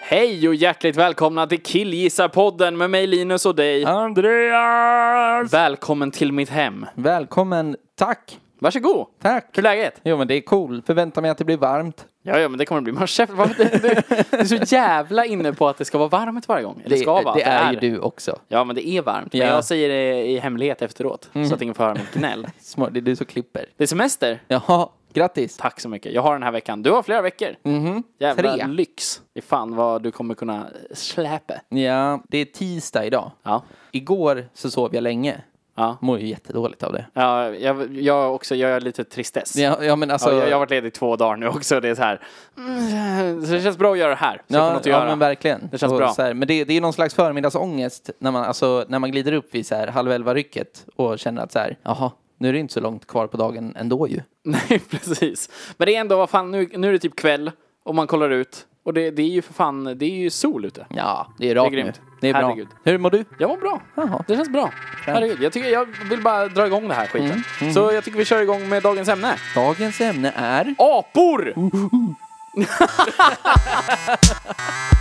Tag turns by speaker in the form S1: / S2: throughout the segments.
S1: Hej och hjärtligt välkomna till Killgissarpodden med mig Linus och dig.
S2: Andreas!
S1: Välkommen till mitt hem.
S2: Välkommen, tack!
S1: Varsågod.
S2: Tack!
S1: Hur är läget?
S2: Jo men det är cool, förväntar mig att det blir varmt.
S1: Ja, ja, men det kommer det bli. Man käftar, varför- du, du, du är så jävla inne på att det ska vara varmt varje gång. Eller ska vara.
S2: det är ju du också.
S1: Ja, men det är varmt.
S2: Ja. Mm.
S1: Men jag säger det i hemlighet efteråt. Så att ingen får höra mitt gnäll.
S2: Smart, det är du som klipper.
S1: Det är semester.
S2: Jaha, grattis!
S1: Tack så mycket. Jag har den här veckan. Du har flera veckor. Jävla
S2: Mhm. Tre.
S1: lyx. Det är fan vad du kommer kunna släpa.
S2: Ja, det är tisdag idag.
S1: Ja.
S2: Igår så sov jag länge.
S1: Ja.
S2: Mår ju jättedåligt av det.
S1: Ja, jag, jag också, jag har lite tristess.
S2: Ja, ja men alltså...
S1: Ja, jag, jag har varit ledig två dagar nu också. Det är så här. mm, Så det känns bra att göra det här. Så jag får
S2: Ja,
S1: något att
S2: ja
S1: göra.
S2: men verkligen.
S1: Det känns
S2: Och
S1: bra.
S2: Så här, men det, det är någon slags förmiddagsångest när man, alltså, när man glider upp vid så här, halv elva-rycket och känner att så här, jaha, nu är det inte så långt kvar på dagen ändå ju.
S1: Nej, precis. Men det är ändå, vad fan, nu, nu är det typ kväll och man kollar ut. Och det, det är ju för fan, det är ju sol ute.
S2: Ja, det är rakt
S1: Det är grymt.
S2: nu. Det är bra.
S1: Herregud.
S2: Hur mår du?
S1: Jag mår bra.
S2: Jaha.
S1: Det känns bra. Herregud, jag, tycker, jag vill bara dra igång det här skiten.
S2: Mm,
S1: Så jag tycker vi kör igång med dagens ämne.
S2: Dagens ämne är...
S1: Apor!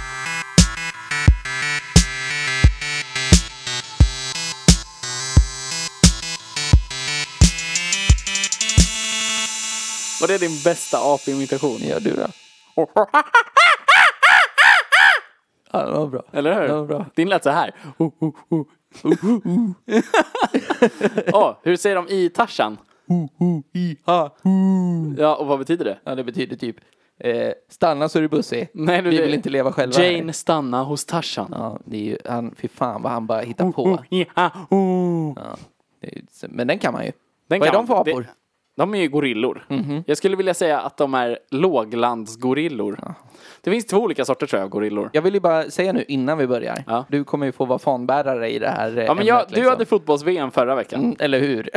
S1: Var det din bästa apimitation?
S2: Gör du då? Ja, det var bra.
S1: Eller hur?
S2: Det var bra.
S1: Din lät så här. Oh, oh, oh. Åh, hur säger de i Tarzan?
S2: Ja.
S1: Ja, och vad betyder det?
S2: ja, det betyder typ eh, stanna så är du bussig.
S1: Nej, du,
S2: Vi
S1: det-
S2: vill inte leva själva här.
S1: Jane stanna hos Tarzan.
S2: Ja, det är ju, han, fy fan vad han bara
S1: Oh,
S2: hittar på.
S1: Ja, oh.
S2: Det är ju- Men den kan man ju.
S1: Den
S2: Vad är
S1: kan
S2: de
S1: man-
S2: för apor? Mhm.
S1: Det, de är ju gorillor. Jag skulle vilja säga att de är låglandsgorillor. Det finns två olika sorter tror jag, av gorillor. Ja,
S2: Jag vill ju bara säga nu innan vi börjar.
S1: Ja.
S2: Du kommer ju få vara fanbärare i det här eh,
S1: men jag,
S2: ämnet,
S1: du
S2: liksom.
S1: hade fotbolls-VM förra veckan.
S2: Mm, Eller hur?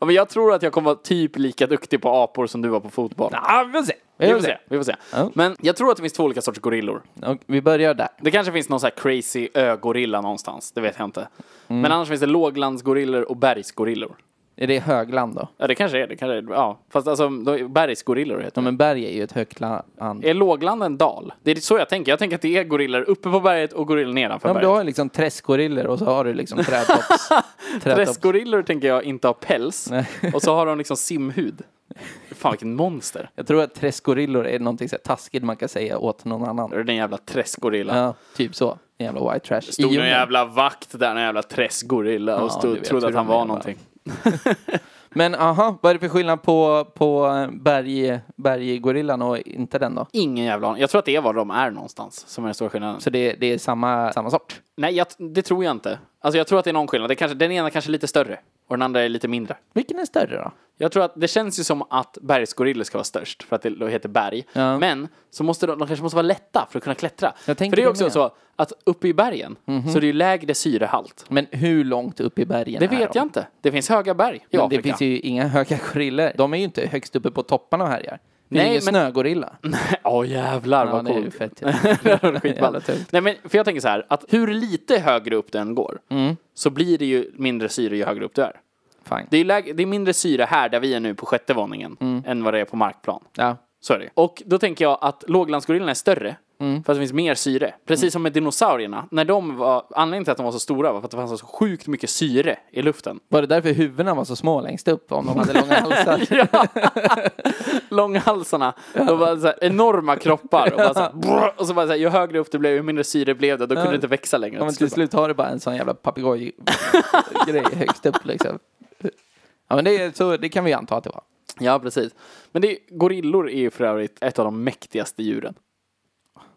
S1: Ja, men jag tror att jag kommer vara typ lika duktig på apor som du var på fotboll.
S2: ja, vi får se.
S1: Vi får se. Vi får se.
S2: Ja.
S1: Men jag tror att det finns två olika sorters gorillor.
S2: Och vi börjar där.
S1: Det kanske finns någon sån här crazy ögorilla någonstans. Det vet jag inte.
S2: Mm.
S1: Men annars finns det låglandsgorillor och bergsgorillor.
S2: Är det högland då?
S1: Ja, det kanske är det. Kanske är, det. ja. Fast alltså, de- bergsgorillor heter
S2: Ja, men berg är ju ett högt land.
S1: Är lågland en dal? Det är så jag tänker. Jag tänker att det är gorillor uppe på berget och gorillor nedanför
S2: Ja, men du
S1: berget.
S2: har ju liksom träskgorillor och så har du liksom trädtopps. trädtopps.
S1: Träskgorillor tänker jag inte har päls.
S2: Nej.
S1: och så har de liksom simhud. Fan vilken monster.
S2: Jag tror att träskgorillor är någonting så här taskigt man kan säga åt någon annan.
S1: Det är Den jävla träskgorillan.
S2: Ja, typ så. En jävla white trash. I
S1: Stod någon
S2: djungeln.
S1: jävla vakt där, någon jävla träskgorilla och
S2: Ja,
S1: stod,
S2: du vet
S1: trodde
S2: hur
S1: att han
S2: de är,
S1: var
S2: va?
S1: någonting.
S2: Men aha, vad är det för skillnad på, på eh, berg, berggorillan och inte den då?
S1: Ingen jävla aning. Jag tror att det är var de är någonstans som är den stora skillnaden.
S2: Så det, det är samma, samma sort?
S1: Nej, jag, det tror jag inte. Alltså jag tror att det är någon skillnad. Det kanske, den ena kanske är lite större och den andra är lite mindre.
S2: Vilken är större då?
S1: Jag tror att det känns ju som att bergsgorillor ska vara störst för att det då heter berg.
S2: Ja.
S1: Men så måste de, de kanske måste vara lätta för att kunna klättra.
S2: Jag tänker
S1: för det är
S2: det
S1: också
S2: med.
S1: så att uppe i bergen så är det ju lägre syrehalt.
S2: Men hur långt upp i bergen
S1: Det
S2: är
S1: vet
S2: de?
S1: jag inte. Det finns höga berg i
S2: Men
S1: Afrika.
S2: det finns ju inga höga gorillor. De är ju inte högst uppe på topparna och härjar. Det är
S1: Nej,
S2: ju ingen
S1: men-
S2: snögorilla.
S1: Åh jävlar
S2: Ja,
S1: vad
S2: det är ju
S1: coolt.
S2: fett.
S1: Skitball.
S2: Jävla tungt.
S1: Nej men för jag tänker så här att hur lite högre upp du än går så blir det ju mindre syre ju högre upp du är.
S2: Fine.
S1: Det är, läg- det är mindre syre här där vi är nu på sjätte våningen än vad det är på markplan.
S2: Ja.
S1: Så är det. Och då tänker jag att låglandsgorillan är större.
S2: Mm.
S1: För att det finns mer syre. Precis som med dinosaurierna. När de var, anledningen till att de var så stora var för att det fanns så sjukt mycket syre i luften.
S2: Var det därför huvudena var så små längst upp? Om de hade långa halsar?
S1: Långhalsarna, de var så här enorma kroppar. Och, bara så här, brr, och så bara så här, ju högre upp det blev, ju mindre syre blev det. Då kunde det inte växa längre.
S2: Ja, men till slut har du bara en sån jävla papegojgrej högst upp liksom. Ja, men det, är, så, det kan vi anta att det var.
S1: Ja, precis. Men det, är- gorillor är ju för övrigt ett av de mäktigaste djuren.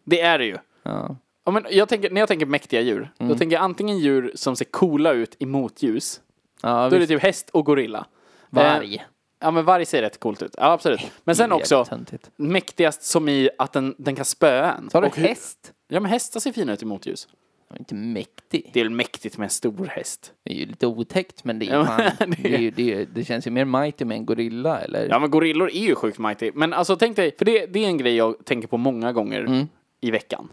S1: Det är det ju.
S2: Ja.
S1: Ja, men jag tänker, när jag tänker mäktiga djur,
S2: Mm.
S1: då tänker jag antingen djur som ser coola ut i motljus.
S2: Ja,
S1: Då är det
S2: visst.
S1: typ häst och gorilla.
S2: Varg.
S1: Ja men varg ser rätt coolt ut. Ja absolut. Men sen
S2: Jävligt
S1: också
S2: töntigt.
S1: mäktigast som i att den, den kan spöa en.
S2: Så har du
S1: Och
S2: en
S1: hur-
S2: häst.
S1: Ja men hästar ser fina ut i motljus.
S2: Den är Inte mäktig.
S1: Det är väl mäktigt med en stor häst.
S2: Det är ju lite otäckt men det är
S1: Ja,
S2: ju fan,
S1: men det-
S2: det, är ju, det, är, ju- det känns ju mer mighty med en gorilla eller?
S1: Ja men gorillor är ju sjukt mighty. Men alltså tänk dig, för det, det är en grej jag tänker på många gånger
S2: Mm.
S1: i veckan.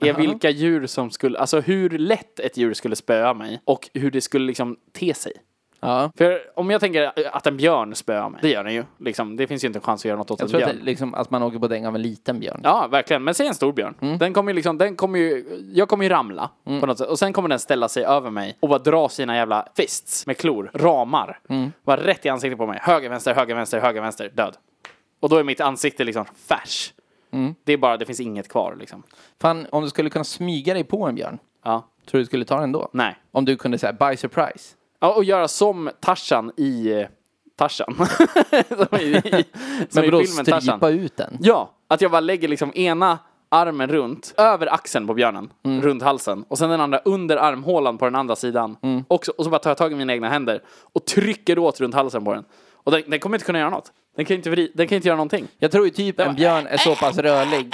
S1: Är vilka djur som skulle, alltså hur lätt ett djur skulle spöa mig och hur det skulle liksom te sig.
S2: Ja.
S1: För om jag tänker att en björn spöar mig, det gör den ju. Liksom, det finns ju inte en chans att göra något åt
S2: Jag
S1: en
S2: tror att,
S1: björn.
S2: det, liksom, att man åker på däng av en liten björn.
S1: Ja, verkligen. Men säg en stor björn.
S2: Mm.
S1: Den kommer ju liksom, den kommer ju, jag kommer ju ramla på något sätt. Och sen kommer den ställa sig över mig och bara dra sina jävla fists med klor, ramar.
S2: Mm.
S1: Bara rätt i ansiktet på mig. Höger, vänster, höger, vänster, höger, vänster, död. Och då är mitt ansikte liksom färs.
S2: Mm.
S1: Det är bara, det finns inget kvar liksom.
S2: Fan, om du skulle kunna smyga dig på en björn,
S1: Ja,
S2: tror du du skulle ta den då?
S1: nej.
S2: Om du kunde säga by surprise.
S1: Ja, och göra som Tarzan i eh, Tarzan. som i, i, som
S2: Men
S1: i
S2: då
S1: filmen Tarzan.
S2: strypa ut den.
S1: Ja, att jag bara lägger liksom ena armen runt, över axeln på björnen,
S2: Mm.
S1: runt halsen. Och sen den andra under armhålan på den andra sidan.
S2: Mm.
S1: Också, och så bara tar jag tag i mina egna händer och trycker åt runt halsen på den. Och den, den kommer inte kunna göra något. Den kan ju inte, vri, den kan ju inte göra någonting.
S2: Jag tror ju typ en björn är så pass rörlig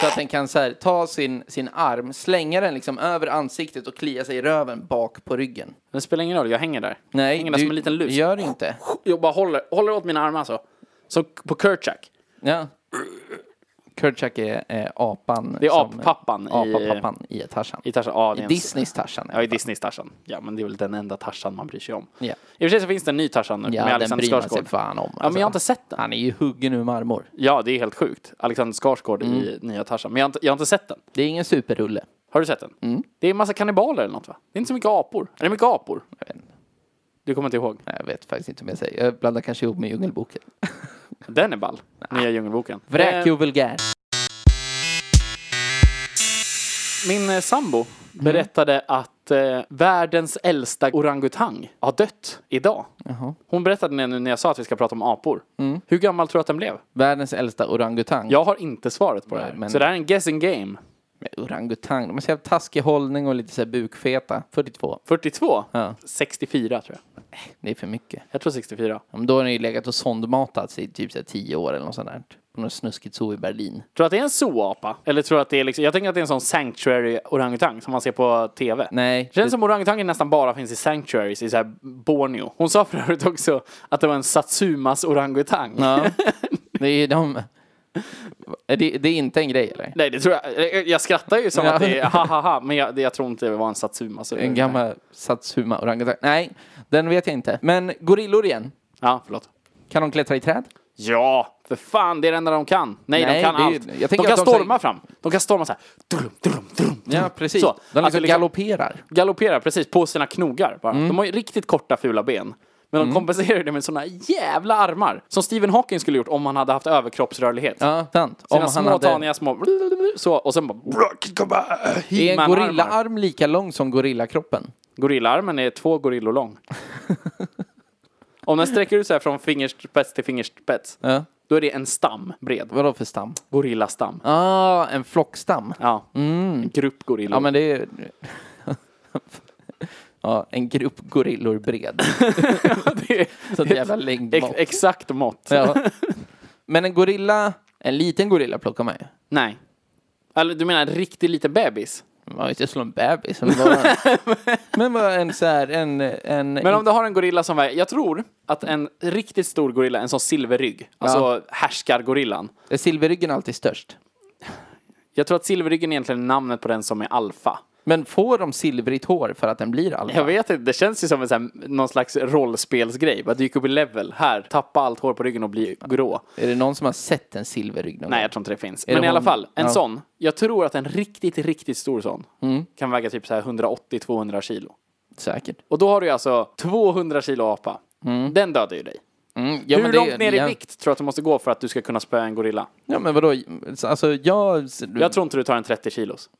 S2: så att den kan så här, ta sin, sin arm, slänga den liksom över ansiktet och klia sig i röven bak på ryggen.
S1: Det spelar ingen roll, jag hänger där. jag
S2: Nej,
S1: hänger där som en liten lus.
S2: gör inte.
S1: Jag bara håller, håller åt mina armar så. Som på Kurchak.
S2: Ja. Kurtjak är, är apan.
S1: Det är
S2: som-
S1: appappan i-
S2: Apapappan i Tarzan.
S1: I Tarzan. Ja, det
S2: I
S1: är en-
S2: Disneys Tarzan.
S1: Ja, i Disneys Tarzan. Ja, men det är väl den enda Tarzan man bryr sig om.
S2: Ja.
S1: I och för sig så finns det en ny Tarzan nu
S2: Ja,
S1: med
S2: den
S1: Alexander
S2: bryr man sig
S1: Skarsgård.
S2: fan om.
S1: Ja, men jag har
S2: alltså.
S1: inte sett den.
S2: Han är ju huggen ur marmor.
S1: Ja, det är helt sjukt. Alexander Skarsgård
S2: Mm.
S1: i nya Tarzan. Men jag har, inte, jag har inte sett den.
S2: Det är ingen superrulle.
S1: Har du sett den?
S2: Mm.
S1: Det är en massa kannibaler eller något va? Det är inte så mycket apor. Är det mycket apor?
S2: Jag vet, inte.
S1: Du kommer inte ihåg?
S2: Nej, jag vet faktiskt inte om jag säger. Jag blandar kanske ihop med Djungelboken.
S1: Eh. Den är ball. Nya Djungelboken.
S2: Vräk
S1: Eh,
S2: och vulgär.
S1: Min eh, sambo
S2: Mm.
S1: berättade att eh, världens äldsta orangutang har dött idag. Hon berättade det nu när jag sa att vi ska prata om apor.
S2: Mm.
S1: Hur gammal tror du att den blev?
S2: Världens äldsta orangutang.
S1: Jag har inte svaret på det här.
S2: Nej, men-
S1: Så det här är en guessing game.
S2: Med orangutang. De har så jävla taskig hållning och lite så här bukfeta. 42.
S1: 42?
S2: Ja.
S1: 64 tror jag.
S2: Det är för mycket.
S1: Jag tror 64.
S2: Ja, men då har den ju legat och sondmatats i typ så här 10 år eller något sånt där. På något snuskigt zoo i Berlin.
S1: Tror du att det är en zooapa? Eller tror du att det är liksom, jag tänker att det är en sån sanctuary orangutang som man ser på tv.
S2: Nej.
S1: Känns som orangutangen nästan bara finns i sanctuaries i så här Borneo. Hon sa för övrigt också att det var en Satsumas orangutang.
S2: Ja. Det är ju de... Är Det, det är inte en grej eller?
S1: Nej, det tror jag. Jag skrattar ju som
S2: Ja.
S1: att det är ha ha ha, men jag, det- jag tror inte det var en Satsumas
S2: En
S1: orangutang.
S2: gammal satsuma orangutang. Nej, den vet jag inte. Men gorillor igen.
S1: Ja, förlåt.
S2: Kan de klättra i träd?
S1: Ja, för fan, det är det enda de kan. Nej,
S2: Nej,
S1: de kan
S2: det är ju-
S1: allt.
S2: jag
S1: de
S2: tänker
S1: kan
S2: att de
S1: storma fram. De kan storma så här. Drum, drum, drum,
S2: Ja, precis.
S1: Så,
S2: de
S1: att det
S2: liksom
S1: liksom-
S2: galopperar.
S1: galopperar precis på sina knogar. Bara.
S2: Mm.
S1: De har ju riktigt korta fula ben. Men de kompenserar det med såna jävla armar. Som Stephen Hawking skulle gjort om han hade haft överkroppsrörlighet.
S2: Ja, sant.
S1: Sina
S2: Om han
S1: små
S2: hade...
S1: taniga små... Så, och sen bara...
S2: Är en
S1: He-Man-armar.
S2: gorillaarm lika lång som gorillakroppen?
S1: Gorillaarmen är två gorillor lång. om den sträcker ut så här från fingerspets till fingerspets.
S2: Ja.
S1: Då är det en stam bred.
S2: Vadå för stam?
S1: Gorillastam.
S2: Ah, en flockstam.
S1: Ja. En grupp
S2: Mm.
S1: gorillor.
S2: Ja, men det är... ja, en grupp gorillor bred.
S1: det är
S2: Sånt jävla längdmått.
S1: ex- exakt mått.
S2: Ja. Men en gorilla, en liten gorilla plockar man ju.
S1: Nej. Eller du menar en riktigt liten bebis?
S2: Man vill inte slå en bebis. Men bara, men bara en så här, en... en
S1: Men om du har en gorilla som väger, jag tror att en riktigt stor gorilla, en sån silverrygg, alltså härskargorillan.
S2: Är silverryggen alltid störst?
S1: Jag tror att silverryggen egentligen är namnet på den som är alfa.
S2: Men får de silvrigt hår för att den blir alfa?
S1: Jag vet inte, det känns ju som en sån här, någon slags rollspelsgrej. Bara dyka upp i level, här, tappa allt hår på ryggen och bli grå.
S2: Är det någon som har sett en silverrygg någon
S1: Nej,
S2: gång?
S1: jag tror inte det finns.
S2: det
S1: Men i alla
S2: hon-
S1: fall, en
S2: Ja. Mm.
S1: sån. Jag tror att en riktigt, riktigt stor sån kan väga typ så här 180-200 kilo.
S2: Säkert.
S1: Och då har du ju alltså 200 kilo apa. Den dödar ju dig.
S2: Mm, ja,
S1: Hur
S2: men det-
S1: långt ner
S2: ja.
S1: i vikt tror du att du måste gå för att du ska kunna spöa en gorilla?
S2: Ja, men vadå? Alltså, jag...
S1: Jag tror inte du tar en 30 kilos.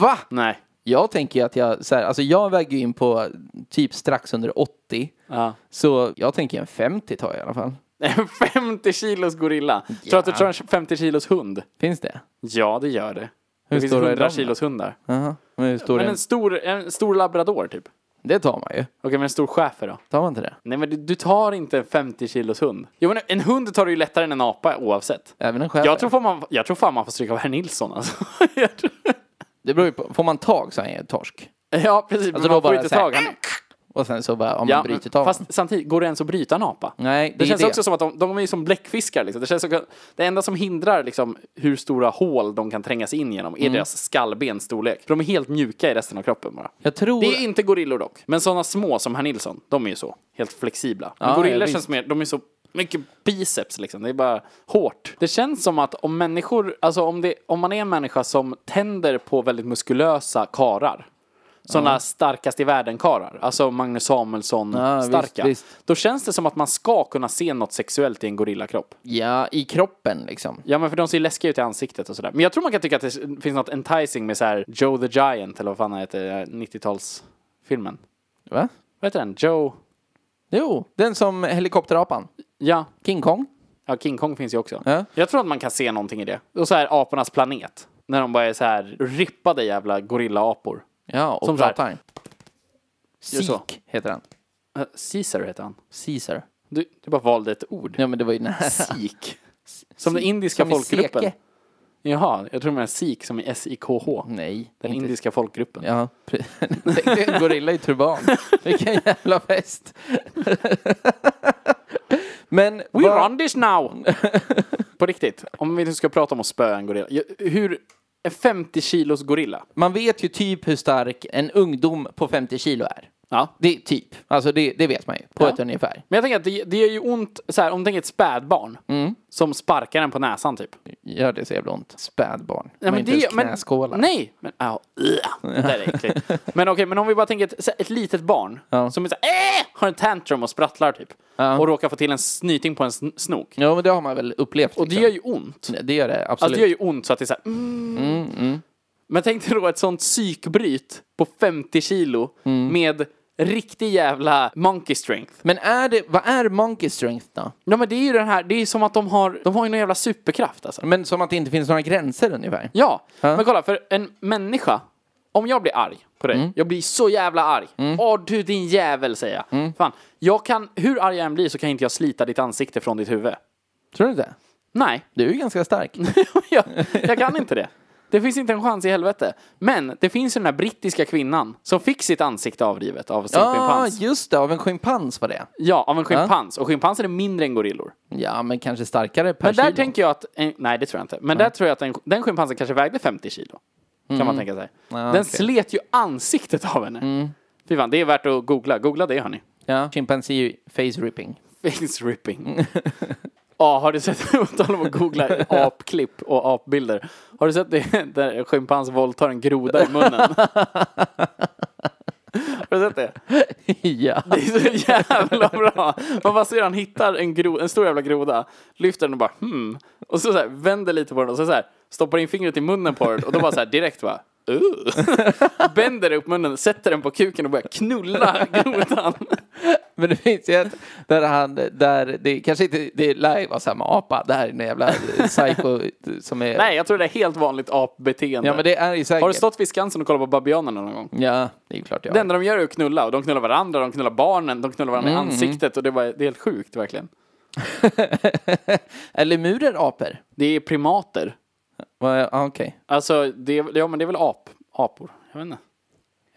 S2: Va?
S1: Nej.
S2: Jag tänker ju att jag... Så här, alltså, jag väger ju in på typ strax under 80.
S1: Ja.
S2: Så jag tänker en 50 tar jag i alla fall.
S1: En 50 kilos gorilla. Tror du att du tar en 50 kilos hund?
S2: Finns det?
S1: Ja, det gör det.
S2: Hur
S1: det finns
S2: stora är
S1: 100
S2: de då?
S1: kilos hundar.
S2: Jaha. Men hur stor
S1: Men
S2: är
S1: en stor, en stor labrador typ.
S2: Det tar man ju.
S1: Okej, men en stor schäfer då?
S2: Tar man inte det?
S1: Nej, men du, du tar inte en 50 kilos hund. Jo, men en hund tar du ju lättare än en apa oavsett.
S2: Även en schäfer?
S1: Jag tror, fan man, jag tror fan man får stryka av herr Nilsson alltså. Jag tror-
S2: Det beror ju på. Får man tag så är han ju torsk.
S1: ja, precis.
S2: Alltså,
S1: men
S2: då
S1: man får
S2: bara
S1: inte
S2: så här,
S1: tag. Han,
S2: Och sen så bara, om
S1: ja,
S2: man bryter tag.
S1: fast samtidigt, går det ens att bryta en apa?
S2: Nej, det,
S1: Det
S2: är
S1: känns
S2: det.
S1: också som att de, de är ju som bläckfiskar. Liksom. Det, känns som, att- det enda som hindrar liksom, hur stora hål de kan trängas in genom är
S2: Mm.
S1: deras skallbens storlek. För de är helt mjuka i resten av kroppen bara.
S2: Jag tror...
S1: Det är inte gorillor dock. Men sådana små som herr Nilsson, de är ju så. Helt flexibla. Men
S2: Ja,
S1: gorillor
S2: ja,
S1: känns mer, de är så mycket biceps liksom. Det är bara hårt. Det känns som att om människor, alltså om, det, om man är en människa som tänder på väldigt muskulösa karar. Sådana starkast i världen karar. Alltså Magnus Samuelsson
S2: Ja, visst,
S1: starka.
S2: visst.
S1: Då känns det som att man ska kunna se något sexuellt i en gorillakropp.
S2: Ja, i kroppen liksom.
S1: Ja men för de ser ju läskiga ut i ansiktet och sådär. Men jag tror man kan tycka att det finns något enticing med så här Joe the Giant eller vad fan han heter, eh, 90-talsfilmen.
S2: Va?
S1: Vad heter den? Joe?
S2: Jo, den som helikopterapan.
S1: Ja.
S2: King Kong.
S1: ja, King Kong finns ju också.
S2: Ja.
S1: Jag tror att man kan se någonting i det. Och så här apornas planet. När de bara är så här rippade jävla gorillaapor.
S2: Ja, och
S1: Som
S2: som
S1: så här.
S2: pratar.
S1: Gör så.
S2: Sik heter han.
S1: Eh, Caesar heter han.
S2: Caesar.
S1: Du, du bara valde ett ord.
S2: Ja, men det var ju nära.
S1: Sik. Som den indiska
S2: Som i
S1: folkgruppen.
S2: seke.
S1: Jaha, jag tror man är sik som i S-I-K-H.
S2: Nej.
S1: Den
S2: inte-
S1: indiska folkgruppen.
S2: Ja, pre- Tänk dig en gorilla i turban. Vilken jävla fest. Men
S1: We
S2: vad-
S1: run this now! På riktigt, om vi nu ska prata om att spöa en gorilla. Jag- Hur, en 50 kilos gorilla?
S2: man vet ju typ hur stark en ungdom på 50 kilo är.
S1: Ja.
S2: Det är typ. Alltså det, det vet man ju på
S1: Ja.
S2: ett ungefär.
S1: Men jag tänker att det, det gör ju ont, så här, om du tänker ett spädbarn
S2: Mm.
S1: som sparkar en på näsan typ.
S2: Gör det så jävla ont? Spädbarn.
S1: Nej,
S2: Man har inte ens
S1: men-
S2: knäskålar.
S1: Nej! Men, ja, ja, det där är äckligt. Men okej, men om vi bara tänker ett, så här, ett litet barn
S2: Ja.
S1: som är så här, äh, har en tantrum och sprattlar typ. Och råkar få till en snyting på en sn- snok.
S2: Jo, men det har man väl upplevt. liksom.
S1: Och det gör ju ont.
S2: det gör det, absolut.
S1: Alltså det gör ju ont så att det är så här, mm. Men tänk dig då ett sånt psykbryt på 50 kilo
S2: Mm.
S1: med riktig jävla monkey strength.
S2: Men är det, vad är monkey strength då?
S1: Ja men det är ju den här, det är som att de har, de har ju någon jävla superkraft alltså.
S2: Men som att det inte finns några gränser ungefär.
S1: Ja, men kolla för en människa, om jag blir arg på dig, jag blir så jävla arg. Åh du din jävel säger jag. Fan, jag kan, hur arg jag än blir så kan inte jag slita ditt ansikte från ditt huvud.
S2: Tror du det?
S1: Nej,
S2: Du är ju ganska stark.
S1: jag, jag kan inte det. Det finns inte en chans i helvete. Men det finns ju den här brittiska kvinnan som fick sitt ansikte avrivet av sin
S2: Ja,
S1: schimpans.
S2: just det. Av en schimpans var det.
S1: Ja, av en schimpans. Och schimpanser är mindre än gorillor.
S2: Ja, men kanske starkare per
S1: Men där
S2: kilo.
S1: tänker jag att, eh, nej det tror jag inte. Men där tror jag att den, den schimpansen kanske vägde 50 kilo. Kan man tänka sig. den
S2: Mm. Ah, okej. Mm.
S1: slet ju ansiktet av henne. Fy fan, det är värt att googla. Googla det hörni.
S2: Ja, chimpansi face ripping.
S1: Face ripping. Ja, har du sett, på tal om att googla apklipp och apbilder. Har du sett det där en schimpans våldtar en groda i munnen? har du sett det?
S2: ja.
S1: Det är så jävla bra. Man bara ser han hittar en, gro, en stor jävla groda, lyfter den och bara hmm. Och så, så här, vänder lite på den och så, så här, stoppar in fingret i munnen på den och då bara så här direkt bara "Ugh." Bänder upp munnen, sätter den på kuken och börjar knulla grodan.
S2: Men det finns ju ett där han, där det kanske inte, det lär ju vara samma apa. Det här är en jävla psycho som är...
S1: Nej, jag tror det är helt vanligt apbeteende.
S2: Ja, men det är ju säkert.
S1: Har du stått vid Skansen och kollat på Babianerna någon gång?
S2: Ja, det är ju klart jag
S1: Det
S2: har.
S1: enda de gör är att knulla och de knullar varandra, de knullar barnen, de knullar varandra
S2: Mm.
S1: i ansiktet och det, var, det är helt sjukt verkligen.
S2: Eller murer apor?
S1: Det är primater.
S2: Vad är- ah, Okej.
S1: Alltså, det, är- ja men det är väl ap, apor? Jag vet inte.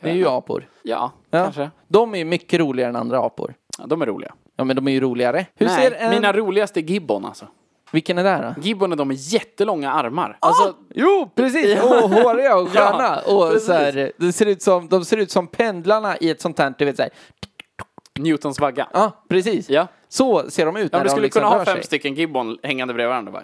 S2: Det är ju apor.
S1: Ja,
S2: Ja.
S1: kanske.
S2: De är ju mycket roligare än andra apor.
S1: Ja, de är roliga.
S2: Ja, men de är ju roligare. Hur
S1: Nej,
S2: ser en...
S1: Mina roligaste är gibbon alltså.
S2: Vilken är det då?
S1: Gibbon är de med jättelånga armar.
S2: Ah!
S1: Alltså,
S2: Jo, precis! Och håriga och sköna. och
S1: precis.
S2: så här, det ser ut som, de ser ut som pendlarna i ett sånt här, du vet så här.
S1: Newtons vagga.
S2: Ja, precis.
S1: Ja.
S2: Så ser de ut när
S1: Ja, du
S2: de
S1: skulle
S2: liksom
S1: kunna ha
S2: rör
S1: fem
S2: sig.
S1: stycken gibbon hängande bredvid varandra bara.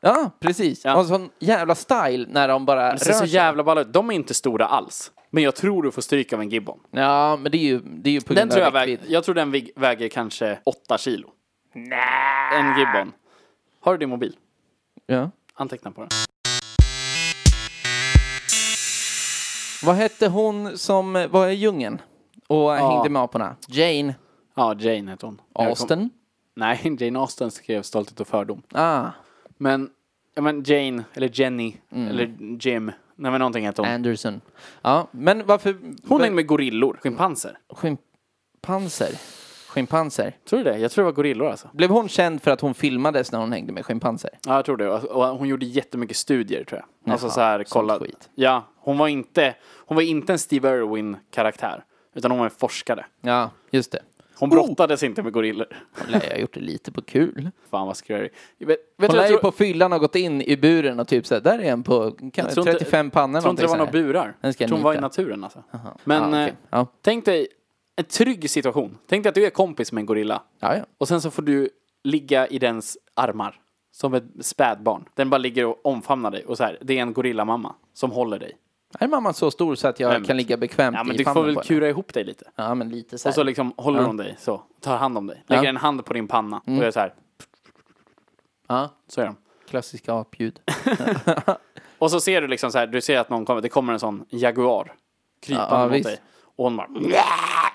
S2: Ja, precis.
S1: Ja.
S2: Och sån jävla style när de bara
S1: Det ser
S2: rör
S1: så
S2: sig.
S1: jävla balla ut. De är inte stora alls. Men jag tror du får stryk av en gibbon.
S2: Ja, men det är ju, det är ju på
S1: Den
S2: grund
S1: tror jag,
S2: av
S1: väger,
S2: räckvidd.
S1: jag tror den vig- väger kanske åtta kilo. En gibbon. Har du din mobil?
S2: Ja.
S1: Anteckna på den.
S2: Vad hette hon som var i djungen och hängde med aporna? Jane
S1: Ja, Jane heter hon. Jag kom-
S2: Austen?
S1: Nej, Jane Austen skrev Stolthet och fördom.
S2: Ah, Mm.
S1: Men, ja, men Jane, eller Jenny, eller Jim, Nej men någonting heter hon.
S2: Anderson. Ja, Äh, men varför...
S1: Hon hängde med gorillor, schimpanser.
S2: Schimpanser? Schimpanser?
S1: Tror du det? Jag tror det var gorillor alltså.
S2: Blev hon känd för att hon filmades när hon hängde med schimpanser?
S1: Ja, jag tror det. Och- Och hon gjorde jättemycket studier tror jag. alltså
S2: Jaha,
S1: så här,
S2: sånt
S1: kolla.
S2: skit.
S1: Ja, hon var inte, hon var inte en Steve Irwin-karaktär. Utan hon var en forskare.
S2: Ja, just det.
S1: Hon brottades inte med gorillor.
S2: Hon lär ju ha gjort det lite på kul.
S1: Fan vad skrörig. Jag Vet, vet
S2: Hon
S1: du,
S2: lär
S1: jag
S2: ju
S1: tror,
S2: på fyllan ha gått in i buren och typ såhär, där är en på kan,
S1: tror inte-
S2: 35 pannor
S1: jag tror inte det var några burar.
S2: Den
S1: Jag
S2: ska jag
S1: tror hon var i
S2: nita.
S1: naturen alltså. Men
S2: Ja, okej.
S1: eh,
S2: Ja.
S1: tänk dig en trygg situation. Tänk dig att du är kompis med en gorilla.
S2: Ja, ja.
S1: Och sen så får du ligga i dens armar. Som ett spädbarn. Den bara ligger och omfamnar dig. Och så här, det är en gorillamamma som håller dig.
S2: Är mamman så stor så att jag
S1: Skämt.
S2: kan ligga bekvämt
S1: Ja men
S2: i
S1: du får
S2: famnen
S1: väl
S2: på henne?
S1: kura ihop dig lite.
S2: Ja, men lite så här.
S1: Och så liksom håller hon dig så. Tar hand om dig. Lägger en hand på din panna.
S2: Mm.
S1: Och gör så här.
S2: Ja,
S1: Så gör de.
S2: klassiska apljud.
S1: Och så ser du liksom så här. Du ser att någon kommer. Det kommer en sån jaguar. Krypande
S2: Ja, ja,
S1: mot
S2: visst.
S1: dig. Och hon bara.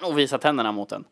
S1: Och visar tänderna mot den.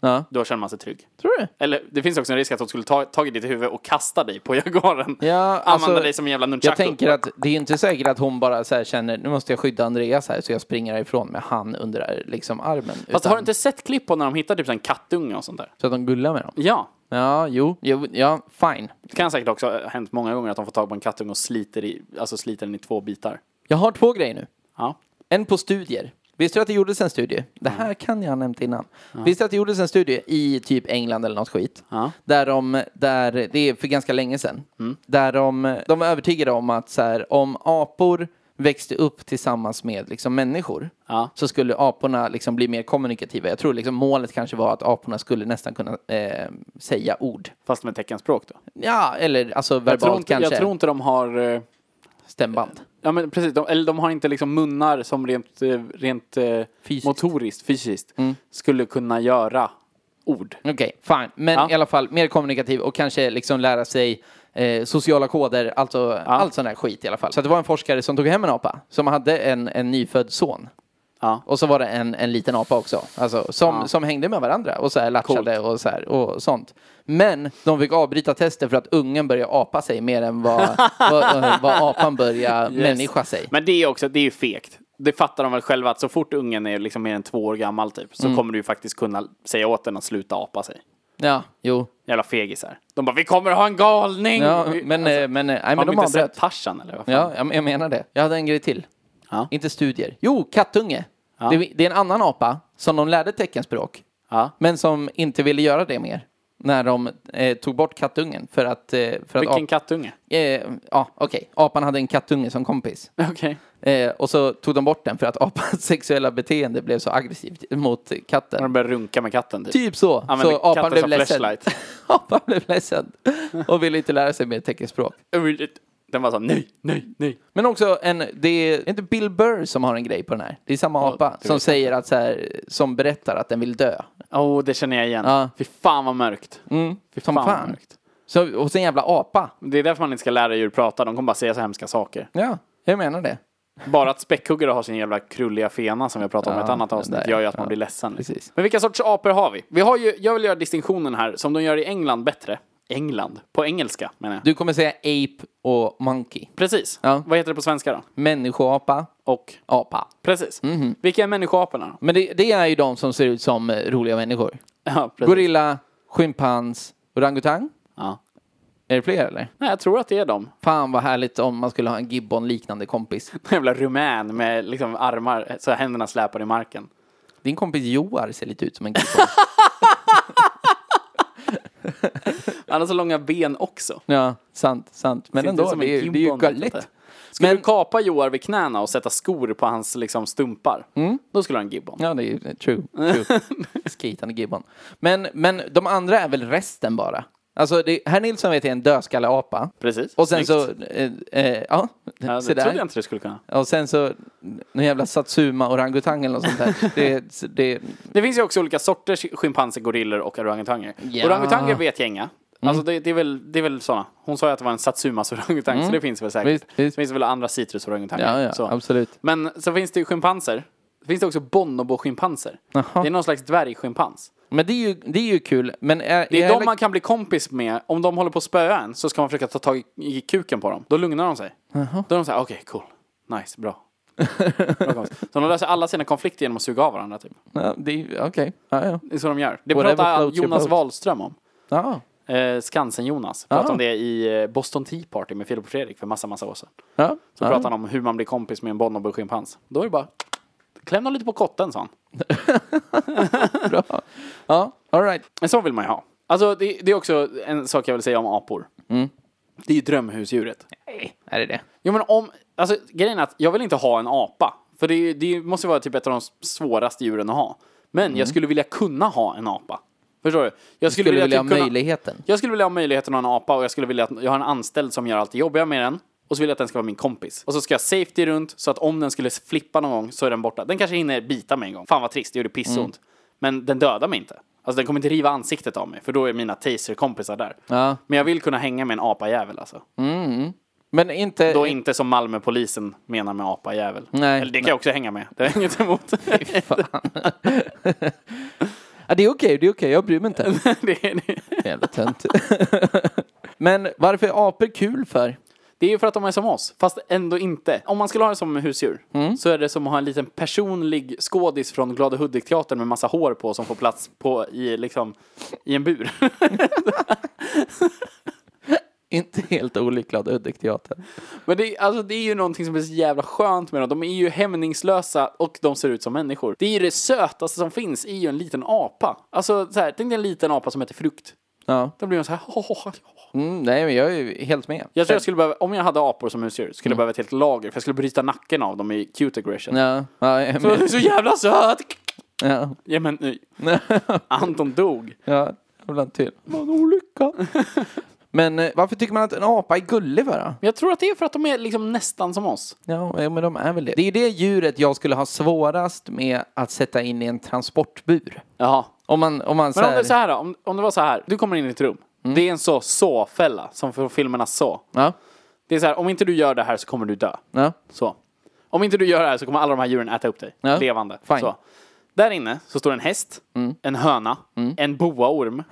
S2: Ja.
S1: Då känner man sig trygg.
S2: Tror du?
S1: Eller det finns också en risk att hon skulle ta tag i ditt huvud och kasta dig på jaguaren.
S2: Ja,
S1: Använda
S2: alltså,
S1: dig som en jävla nunchaku.
S2: Jag tänker att det är ju inte säkert att hon bara så här känner, nu måste jag skydda Andreas här så jag springer härifrån med han under liksom armen.
S1: Fast har du inte sett klipp på när de hittar typ en kattunge och sånt där?
S2: Så att de gullar med dem.
S1: Ja,
S2: Ja, jo, jo ja, fine.
S1: det kan säkert också ha hänt många gånger att de får tag på en kattunge och sliter, i, alltså sliter den i två bitar.
S2: Jag har två grejer nu.
S1: Ja.
S2: En på studier. Visste du att det gjordes en studie? Det här kan jag ha nämnt innan. Visste du att det gjordes en studie i typ England eller något skit?
S1: Ja. Mm.
S2: Där de, där, det är för ganska länge sedan. Där de, de var övertygade om att så här, om apor växte upp tillsammans med liksom, människor
S1: Ja.
S2: så skulle aporna liksom, bli mer kommunikativa. Jag tror liksom, målet kanske var att aporna skulle nästan kunna eh, säga ord.
S1: Fast med teckenspråk då.
S2: Ja, eller alltså verbalt
S1: Jag tror, inte,
S2: kanske.
S1: jag tror inte de har... eh,
S2: Stämband.
S1: Ja men precis, de, eller de har inte liksom munnar som rent, eh, rent eh,
S2: Fysiskt.
S1: motoriskt, fysiskt, skulle kunna göra ord.
S2: Okej, fine. Men
S1: Ja.
S2: i alla fall mer kommunikativ och kanske liksom lära sig eh, sociala koder, alltså allt sån där skit i alla fall. Så att det var en forskare som tog hem en apa som hade en, en nyfödd son.
S1: Ja.
S2: Och så var det en, en liten apa också, alltså, som, som hängde med varandra och så här latchade och, så här, och sånt. Men de fick avbryta testet för att ungen började apa sig mer än vad, vad, eh, vad apan började människa sig.
S1: Men det är också, det är ju fegt. Det fattar de väl själva att så fort ungen är liksom mer än två år gammal typ så kommer du ju faktiskt kunna säga åt den att sluta apa sig.
S2: Ja, jo.
S1: Jävla fegisar. De bara, vi kommer ha en galning!
S2: Ja,
S1: Vi- alltså,
S2: men, eh, men, eh, nej,
S1: har
S2: men
S1: de
S2: de
S1: inte sett
S2: avbröt.
S1: Tarzan eller? Vad fan?
S2: Ja, jag, jag menar det. Jag hade en grej till.
S1: Ja.
S2: Inte studier. Jo, kattunge. Det, det är en annan apa som de lärde teckenspråk,
S1: Ja.
S2: men som inte ville göra det mer när de eh, tog bort kattungen för att... Eh, för
S1: Vilken
S2: att ap-
S1: kattunge?
S2: eh, ja, okej. Apan hade en kattunge som kompis.
S1: Okej.
S2: Eh, och så tog de bort den för att apans sexuella beteende blev så aggressivt mot katten.
S1: När de börjar runka med katten typ.
S2: Typ så.
S1: Använde
S2: Så apan
S1: katten
S2: blev
S1: som
S2: ledsen.
S1: flashlight.
S2: apan blev ledsen och ville inte lära sig mer teckenspråk.
S1: Den var så här, nej, nej, nej.
S2: Men också en, det är inte Bill Burr som har en grej på den här. Det är samma apa som säger att så här, som berättar att den vill dö.
S1: Åh, det känner jag igen.
S2: Ja. Mm.
S1: Fy fan vad mörkt. Fy
S2: Som
S1: fan, vad
S2: fan.
S1: mörkt.
S2: Så, och sen jävla apa.
S1: Det är därför man inte ska lära djur prata, de kommer bara säga så hemska saker.
S2: Ja, jag menar det.
S1: Bara att späckhuggare har sin jävla krulliga fena som vi har pratat om i ett
S2: Ja,
S1: annat
S2: den
S1: avsnitt
S2: där,
S1: gör ju att man
S2: ja.
S1: blir ledsen. liksom.
S2: Precis.
S1: Men vilka sorts apor har vi? vi har ju, jag vill göra distinktionen här, som de gör i England bättre. England? På engelska menar jag.
S2: Du kommer säga ape och monkey.
S1: Precis.
S2: Ja.
S1: Vad heter det på svenska då?
S2: Människoapa,
S1: Och?
S2: apa.
S1: Precis.
S2: Mhm.
S1: Vilka är människoaporna då?
S2: Men det, det är ju de som ser ut som eh, roliga människor.
S1: Ja, precis.
S2: Gorilla, schimpans, orangutang.
S1: Ja.
S2: Är det fler eller?
S1: Nej, jag tror att det är dem.
S2: Fan vad härligt om man skulle ha en gibbon-liknande kompis.
S1: En jävla rumän med liksom armar, så händerna släpar i marken.
S2: Din kompis Joar ser lite ut som en gibbon.
S1: Han har så långa ben också.
S2: ja, sant, sant. Men
S1: Ser inte ut
S2: ändå,
S1: som
S2: det
S1: en
S2: är, ju- det är ju
S1: gibbon, liksom, vet du
S2: gulligt.
S1: inte. Skulle
S2: Men-
S1: du kapa Joar vid knäna och sätta skor på hans liksom, stumpar, då skulle han ha en gibbon.
S2: Mm. Ja, det är ju true. true. Skitande gibbon. Men, men de andra är väl resten bara? Alltså, det, herr Nilsson vet jag är en dödskalleapa.
S1: Precis.
S2: Och sen
S1: Snyggt.
S2: så, eh, eh, ja,
S1: Ja,
S2: se
S1: det trodde jag
S2: där.
S1: inte du skulle kunna.
S2: Och sen så, någon jävla satsuma orangutang eller något sånt där. det, det,
S1: Det finns ju också olika sorters schimpanser, gorillor och orangutanger.
S2: Ja. Mm.
S1: Orangutanger vet jag inga. Alltså det, det är väl, det är väl sådana. Hon sa ju att det var en satsumas orangutang, så det finns väl säkert.
S2: Mm. Visst, visst.
S1: Så finns det väl andra citrusorangutanger.
S2: ja, ja,
S1: så.
S2: absolut.
S1: Men så finns det ju schimpanser. Det finns det också bonobo-schimpanser. Det är någon slags dvärgschimpans.
S2: Men det är ju, det är ju kul. Men är,
S1: Det är
S2: jag
S1: de man kan bli kompis med. Om de håller på att spöa en så ska man försöka ta tag i, i kuken på dem. Då lugnar de sig. Då är de såhär, okej cool. Nice, bra. bra konst. så de löser alla sina konflikter genom att suga av varandra typ.
S2: Ja, det är- Okej. Ja, ja.
S1: Det är så de gör. Det
S2: Whatever
S1: pratar
S2: floats your
S1: Jonas
S2: boat.
S1: Wahlström om.
S2: Ja.
S1: Eh, Skansen-Jonas. Pratade
S2: Ah.
S1: om det i eh, Boston Tea Party med Filip och Fredrik för massa, massa år sedan.
S2: Ja.
S1: Så pratade han om hur man blir kompis med en bonobo-schimpans. Då är det bara, kläm dem lite på kotten sa han.
S2: Bra. Ja, all right.
S1: Men så vill man ju ha. Alltså det, det är också en sak jag vill säga om apor.
S2: Mm.
S1: Det är ju drömhusdjuret.
S2: Är det det?
S1: Jo men om, alltså grejen är att jag vill inte ha en apa. För det, är- det måste vara typ ett av de svåraste djuren att ha. Men jag skulle vilja kunna ha en apa. Förstår du? Jag
S2: Mm.
S1: typ
S2: Skulle vilja ha
S1: kunna-
S2: möjligheten.
S1: Jag skulle vilja ha möjligheten att ha en apa och jag skulle vilja att jag har en anställd som gör allt det jobbiga med den. Och så vill jag att den ska vara min kompis. Och så ska jag safety runt så att om den skulle flippa någon gång så är den borta. Den kanske hinner bita mig en gång. Fan vad trist, det gjorde pissont.
S2: Mm.
S1: Men den dödar mig inte. Alltså den kommer inte riva ansiktet av mig för då är mina taser-kompisar där.
S2: Ja. Mm.
S1: Men jag vill kunna hänga med en apajävel alltså.
S2: Men inte...
S1: Då inte som Malmöpolisen menar med apajävel.
S2: Nej.
S1: Eller det kan jag också hänga med. Det har jag inget emot.
S2: Ja, det är okej, det är okej. Jag bryr mig inte.
S1: det, är,
S2: Jävla tönt. Men varför är apor kul för?
S1: det är ju för att de är som oss, fast ändå inte. Om man skulle ha det som husdjur så är det som att ha en liten personlig skådis från Glada Hudik-teatern med massa hår på som får plats på i, liksom, i en bur.
S2: Inte helt olycklig Hudik-teatern.
S1: Men det, är- alltså, det är ju någonting som är så jävla skönt med dem. De är ju hämningslösa och de ser ut som människor. Det är ju det sötaste som finns, är ju en liten apa. Alltså så här, tänk dig en liten apa som äter frukt.
S2: Ja.
S1: Då blir man så här, "Åh, åh, åh."
S2: Mm, nej, men jag är ju helt med.
S1: Jag tror jag skulle behöva, om jag hade apor som husdjur, skulle jag behöva ett helt lager för jag skulle bryta nacken av dem i cute aggression.
S2: Ja, ja, jag är
S1: Så,
S2: med.
S1: så jävla söt!
S2: ja.
S1: Ja men nej. Anton dog.
S2: ja jävla till. Vad olycka. Men eh, varför tycker man att en apa är gullig för då?
S1: Men jag tror att det är för att de är liksom nästan som oss.
S2: Ja, eh, men de är väl det. Det är det djuret jag skulle ha svårast med att sätta in i en transportbur.
S1: Jaha.
S2: Om man, om man så
S1: Men om det
S2: här,
S1: är så här då, om, om det var så här. Du kommer in i ett rum. Det är en så så-fälla, som från filmerna så.
S2: Ja,
S1: Det är så här, om inte du gör det här så kommer du dö.
S2: ja,
S1: Så. Om inte du gör det här så kommer alla de här djuren äta upp dig.
S2: Ja.
S1: Levande.
S2: Fine.
S1: Så. Där inne så står en häst, en höna, en boaorm,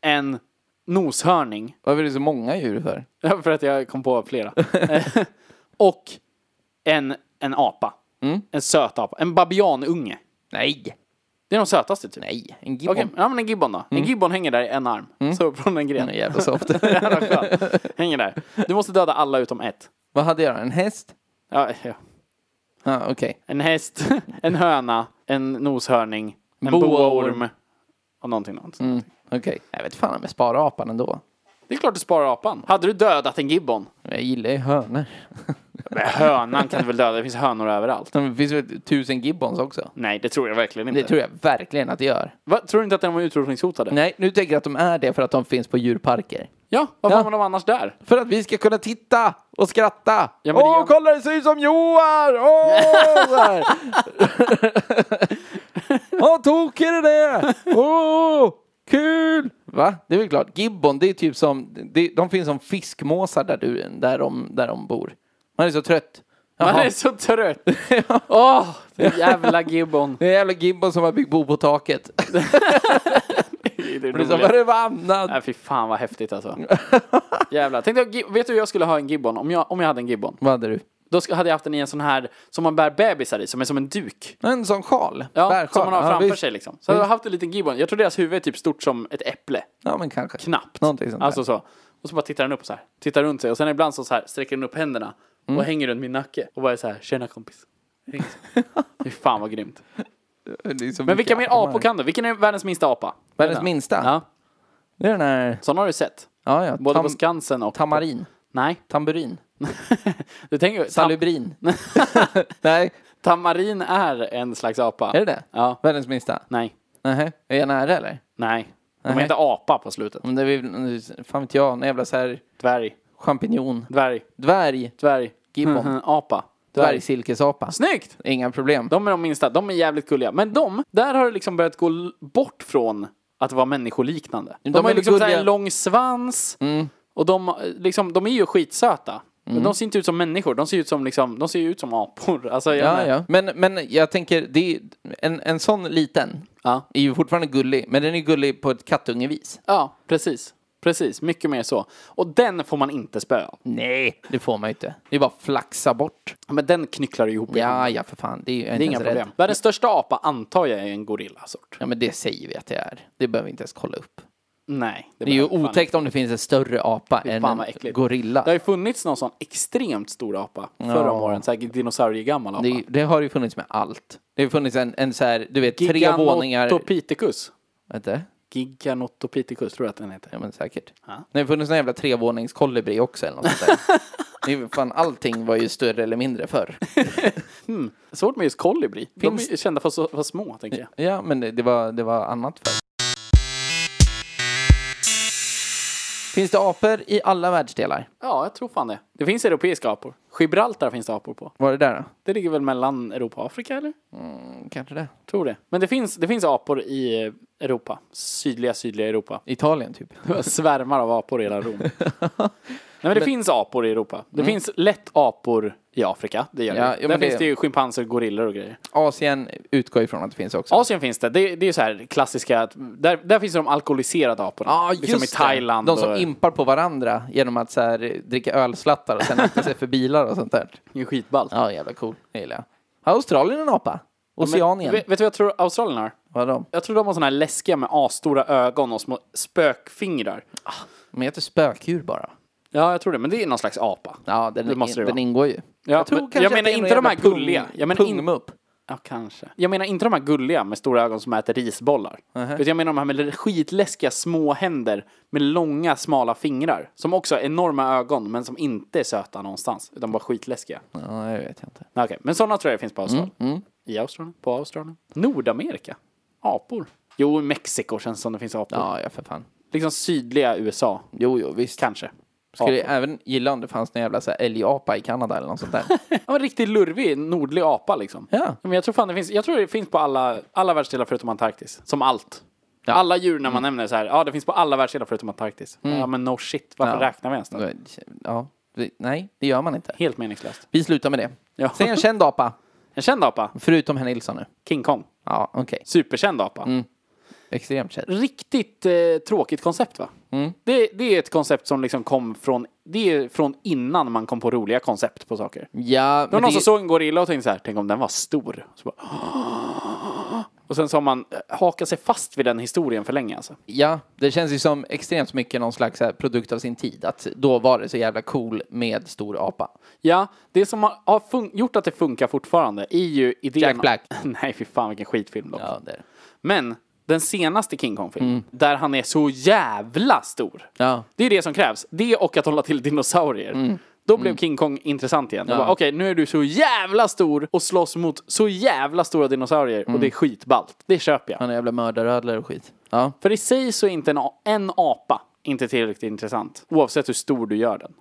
S1: en noshörning.
S2: varför är det så många djur för?
S1: Ja, för att jag kom på flera. Eh, och en, en apa. En söt apa. En babianunge.
S2: Nej,
S1: Det är de sötaste typ.
S2: nej, en gibbon. Mm.
S1: Okej, ja men en gibbon då. En gibbon hänger där i en arm. Så från en
S2: Den är
S1: gren.
S2: jävla soft.
S1: Jävla skön. hänger där. Du måste döda alla utom ett.
S2: Vad hade jag då? En häst?
S1: Ja, ja.
S2: Ja, okej.
S1: En häst, en höna, en noshörning, en
S2: Boaorm.
S1: boaorm. Och någonting annat.
S2: Mm, Okej. Jag vet fan om jag sparar apan ändå.
S1: Det är klart du sparar apan. Hade du dödat en gibbon?
S2: Jag gillar ju hönor.
S1: Men Hönan kan du väl döda? Det finns hönor överallt.
S2: Det finns väl tusen gibbons också?
S1: Nej, det tror jag verkligen inte.
S2: Det tror jag verkligen att det gör.
S1: Va? tror du inte att de var utrotningshotade?
S2: Nej, nu tänker jag att de är det för att de finns på djurparker.
S1: Ja, vad fan
S2: Ja.
S1: var de annars där?
S2: För att vi ska kunna titta och skratta.
S1: Ja, men det
S2: Åh,
S1: gör-
S2: kolla det ser ut som Joar! Åh, så här. Åh, tokig den är! Åh, kul! Va? Det är väl klart. Gibbon, det är typ som... Det, de finns som fiskmåsar där, du, där, de, där de bor. Man är så trött.
S1: Man
S2: Jaha.
S1: är så trött. Åh, den jävla gibbon.
S2: Det är en jävla gibbon som har byggt bo på taket.
S1: Det är
S2: Det är som
S1: roligt.
S2: förbannad.
S1: Nej, fy fan vad häftigt alltså. Jävlar. Tänkte jag, gi- vet du hur jag skulle ha en gibbon om jag, om jag hade en gibbon?
S2: Vad hade du?
S1: Då sk- hade jag haft den i en sån här som man bär bebisar i, som är som en duk.
S2: En sån sjal.
S1: Ja,
S2: Bärsjal.
S1: som man har
S2: Ja,
S1: framför
S2: visst.
S1: sig liksom. Så hade jag haft en liten gibbon. Jag tror deras huvud är typ stort som ett äpple.
S2: Ja, men kanske.
S1: Knappt.
S2: Någonting sånt där.
S1: Alltså så. Och så bara tittar den upp så här. Tittar runt sig. Och sen ibland så, så här sträcker den upp händerna och
S2: Mm.
S1: hänger runt min nacke. Och bara är så här, tjena kompis. Hänger så. Fy fan vad grymt.
S2: Det är så
S1: Men
S2: mycket
S1: vilka mer
S2: apor man
S1: apor kan du? Vilken är världens minsta apa?
S2: Världens minsta?
S1: Ja,
S2: Det är den här...
S1: sån har du sett.
S2: Ja, ja.
S1: Både
S2: Ah. tam-
S1: på Skansen och...
S2: tamarin.
S1: Nej.
S2: Tamburin.
S1: Du tänker ju- tam-
S2: Salubrin. Nej,
S1: Tamarin är en slags apa.
S2: är det det?
S1: Ja.
S2: Världens minsta?
S1: Nej.
S2: Nej. Är jag nära eller?
S1: Nej. De
S2: Nej.
S1: är inte apa på slutet.
S2: Om det är, väl- fan vet jag, någon jävla så här
S1: Dvärg.
S2: champinjon.
S1: Dvärg.
S2: Dvärg.
S1: Dvärg.
S2: Gibbon.
S1: Mhm, Apa. Dvärg.
S2: Dvärgsilkesapa.
S1: Snyggt!
S2: Inga problem.
S1: De är de minsta. De är jävligt gulliga. Men de, där har det liksom börjat gå l- bort från att vara människoliknande. De,
S2: De
S1: har
S2: är
S1: liksom så här
S2: gulliga. Mm.
S1: en lång svans. Och de, liksom, de är ju skitsöta. Men de ser inte ut som människor. De ser ut som, liksom, de ser ju ut som apor. Alltså, jag
S2: Ja,
S1: menar-
S2: ja. Men, men jag tänker, det är, en, en sån liten
S1: Ja.
S2: är ju fortfarande gullig, men den är gullig på ett kattungevis.
S1: Ja, precis. precis. Mycket mer så. Och den får man inte spöa av.
S2: Nej, det får man ju inte. Det är bara att flaxa bort.
S1: Men den knycklar du ihop i handen.
S2: Ja, ja, för fan. Det är ju jag är inte
S1: Det är inga
S2: ens rädd.
S1: problem. Världens största apa antar jag är en gorillasort.
S2: Ja, men det säger vi att det är. Det behöver vi inte ens kolla upp.
S1: Nej.
S2: Det är ju
S1: behöver fan
S2: otäckt om det finns en större apa än
S1: Fan vad
S2: en
S1: äckligt.
S2: gorilla.
S1: Det har ju funnits någon sån extremt stor apa förra om åren. Säkert dinosauriegammal apa.
S2: Det, är- det har ju funnits med allt. Det har funnits en, en så här, du vet, tre våningar...
S1: Giganotopithecus.
S2: Vänta,
S1: Giganotopithecus tror jag att den heter.
S2: ja men säkert. Det har funnits en jävla trevåningskolibri också eller något sånt där. Det är ju fan, allting var ju större eller mindre förr.
S1: Svårt med just kolibri.
S2: Finns-
S1: De är kända för att vara små, tänker jag.
S2: Ja, men det, det, var, det var annat förr. Finns det apor i alla världsdelar?
S1: Ja, jag tror fan det. Det finns europeiska apor. Gibraltar finns det apor på.
S2: Var det där då?
S1: Det ligger väl mellan Europa och Afrika, eller?
S2: Kanske det.
S1: Tror det. Men det finns, det finns apor i eh, Europa. Sydliga, sydliga Europa.
S2: Italien typ.
S1: Svärmar av apor i hela Rom. Nej, men det finns apor i Europa. Det finns lätt apor i Afrika. Det gör
S2: Mm. Ja,
S1: det.
S2: jo,
S1: Där
S2: men
S1: finns
S2: det-
S1: det ju schimpanser, gorillor och grejer.
S2: Asien utgår ifrån att det finns också.
S1: Asien finns det. Det, det är ju så här klassiska. att- Där, där finns de alkoholiserade aporna.
S2: Ja,
S1: liksom i
S2: just
S1: Thailand.
S2: det. De som
S1: och,
S2: impar på varandra genom att så här, eh, dricka ölslattar och sen akta sig för bilar och sånt där.
S1: Det är ju skitballt.
S2: Ja, jävla cool. Det gillar jag. Har Australien en apa? Oceanien?
S1: Vet, vet du vad jag tror Australien har?
S2: Vad har de?
S1: Jag tror de har såna här läskiga med asstora ögon och små spökfingrar.
S2: De heter spökdjur bara.
S1: Ja, jag tror det. Men det är någon slags apa.
S2: Ja, den,
S1: Det måste det
S2: den
S1: vara.
S2: ingår ju.
S1: Ja, men- jag menar
S2: att det är
S1: inte
S2: någon jävla
S1: de här gulliga.
S2: Pung,
S1: Jag menar in-
S2: pungmupp.
S1: Ja, kanske. Jag menar inte de här gulliga med stora ögon som äter risbollar. Utan jag menar de här med skitläskiga små händer med långa smala fingrar. Som också har enorma ögon men som inte är söta någonstans. Utan bara skitläskiga.
S2: Ja, jag vet inte.
S1: Nej, Okej, men sådana tror jag finns på Australien. I Australien, på Australien. Nordamerika. Apor. Jo, i Mexiko känns som det finns apor.
S2: Ja, ja för fan.
S1: Liksom sydliga USA,
S2: Jo, jo, visst.
S1: kanske.
S2: Skulle jag även gilla om det fanns någon jävla så här älgapa i Kanada eller något sånt där.
S1: Ja, men riktigt lurvig nordlig apa liksom.
S2: Ja.
S1: Men jag tror fan det finns, jag tror det finns på alla, alla världsdelar förutom Antarktis. Som allt. Alla djur
S2: Mm.
S1: när man nämner så här, ja det finns på alla världsdelar förutom Antarktis. Ja men no shit, varför
S2: Ja.
S1: räknar vi ens det?
S2: ja. det- Nej, det gör man inte.
S1: Helt meningslöst.
S2: Vi slutar med det.
S1: Ja.
S2: Säg en känd apa,
S1: En känd apa,
S2: förutom herr Nilsson nu.
S1: King Kong.
S2: Ja, okej.
S1: Superkänd apa.
S2: Mm. Extremt känd.
S1: Riktigt eh, tråkigt koncept va?
S2: Mm.
S1: Det, det är ett koncept som liksom kom från, det är från innan man kom på roliga koncept på saker.
S2: Ja,
S1: Det var
S2: men
S1: någon
S2: det,
S1: som såg en gorilla och tänkte så här, tänk om den var stor. Så bara, och sen så har man eh, hakat sig fast vid den historien för länge alltså.
S2: ja, det känns ju som extremt mycket någon slags så här produkt av sin tid. Att då var det så jävla cool med stor apa.
S1: Ja, det som har, har fun- gjort att det funkar fortfarande är ju idén...
S2: Jack Black.
S1: Nej, fy fan vilken skitfilm dock.
S2: Ja, det är det.
S1: Men den senaste King Kong-filmen, där han är så jävla stor.
S2: Ja. Mm.
S1: Det är det som krävs. Det och att hålla till dinosaurier. Då blev King Kong intressant igen. Ja. Okej, nu är du så jävla stor och slåss mot så jävla stora dinosaurier
S2: Mm.
S1: och det är skitballt. Det köper jag.
S2: Han är jävla mördarödlor och skit. Ja.
S1: För i sig så är inte en, a- en apa inte tillräckligt intressant. Oavsett hur stor du gör den.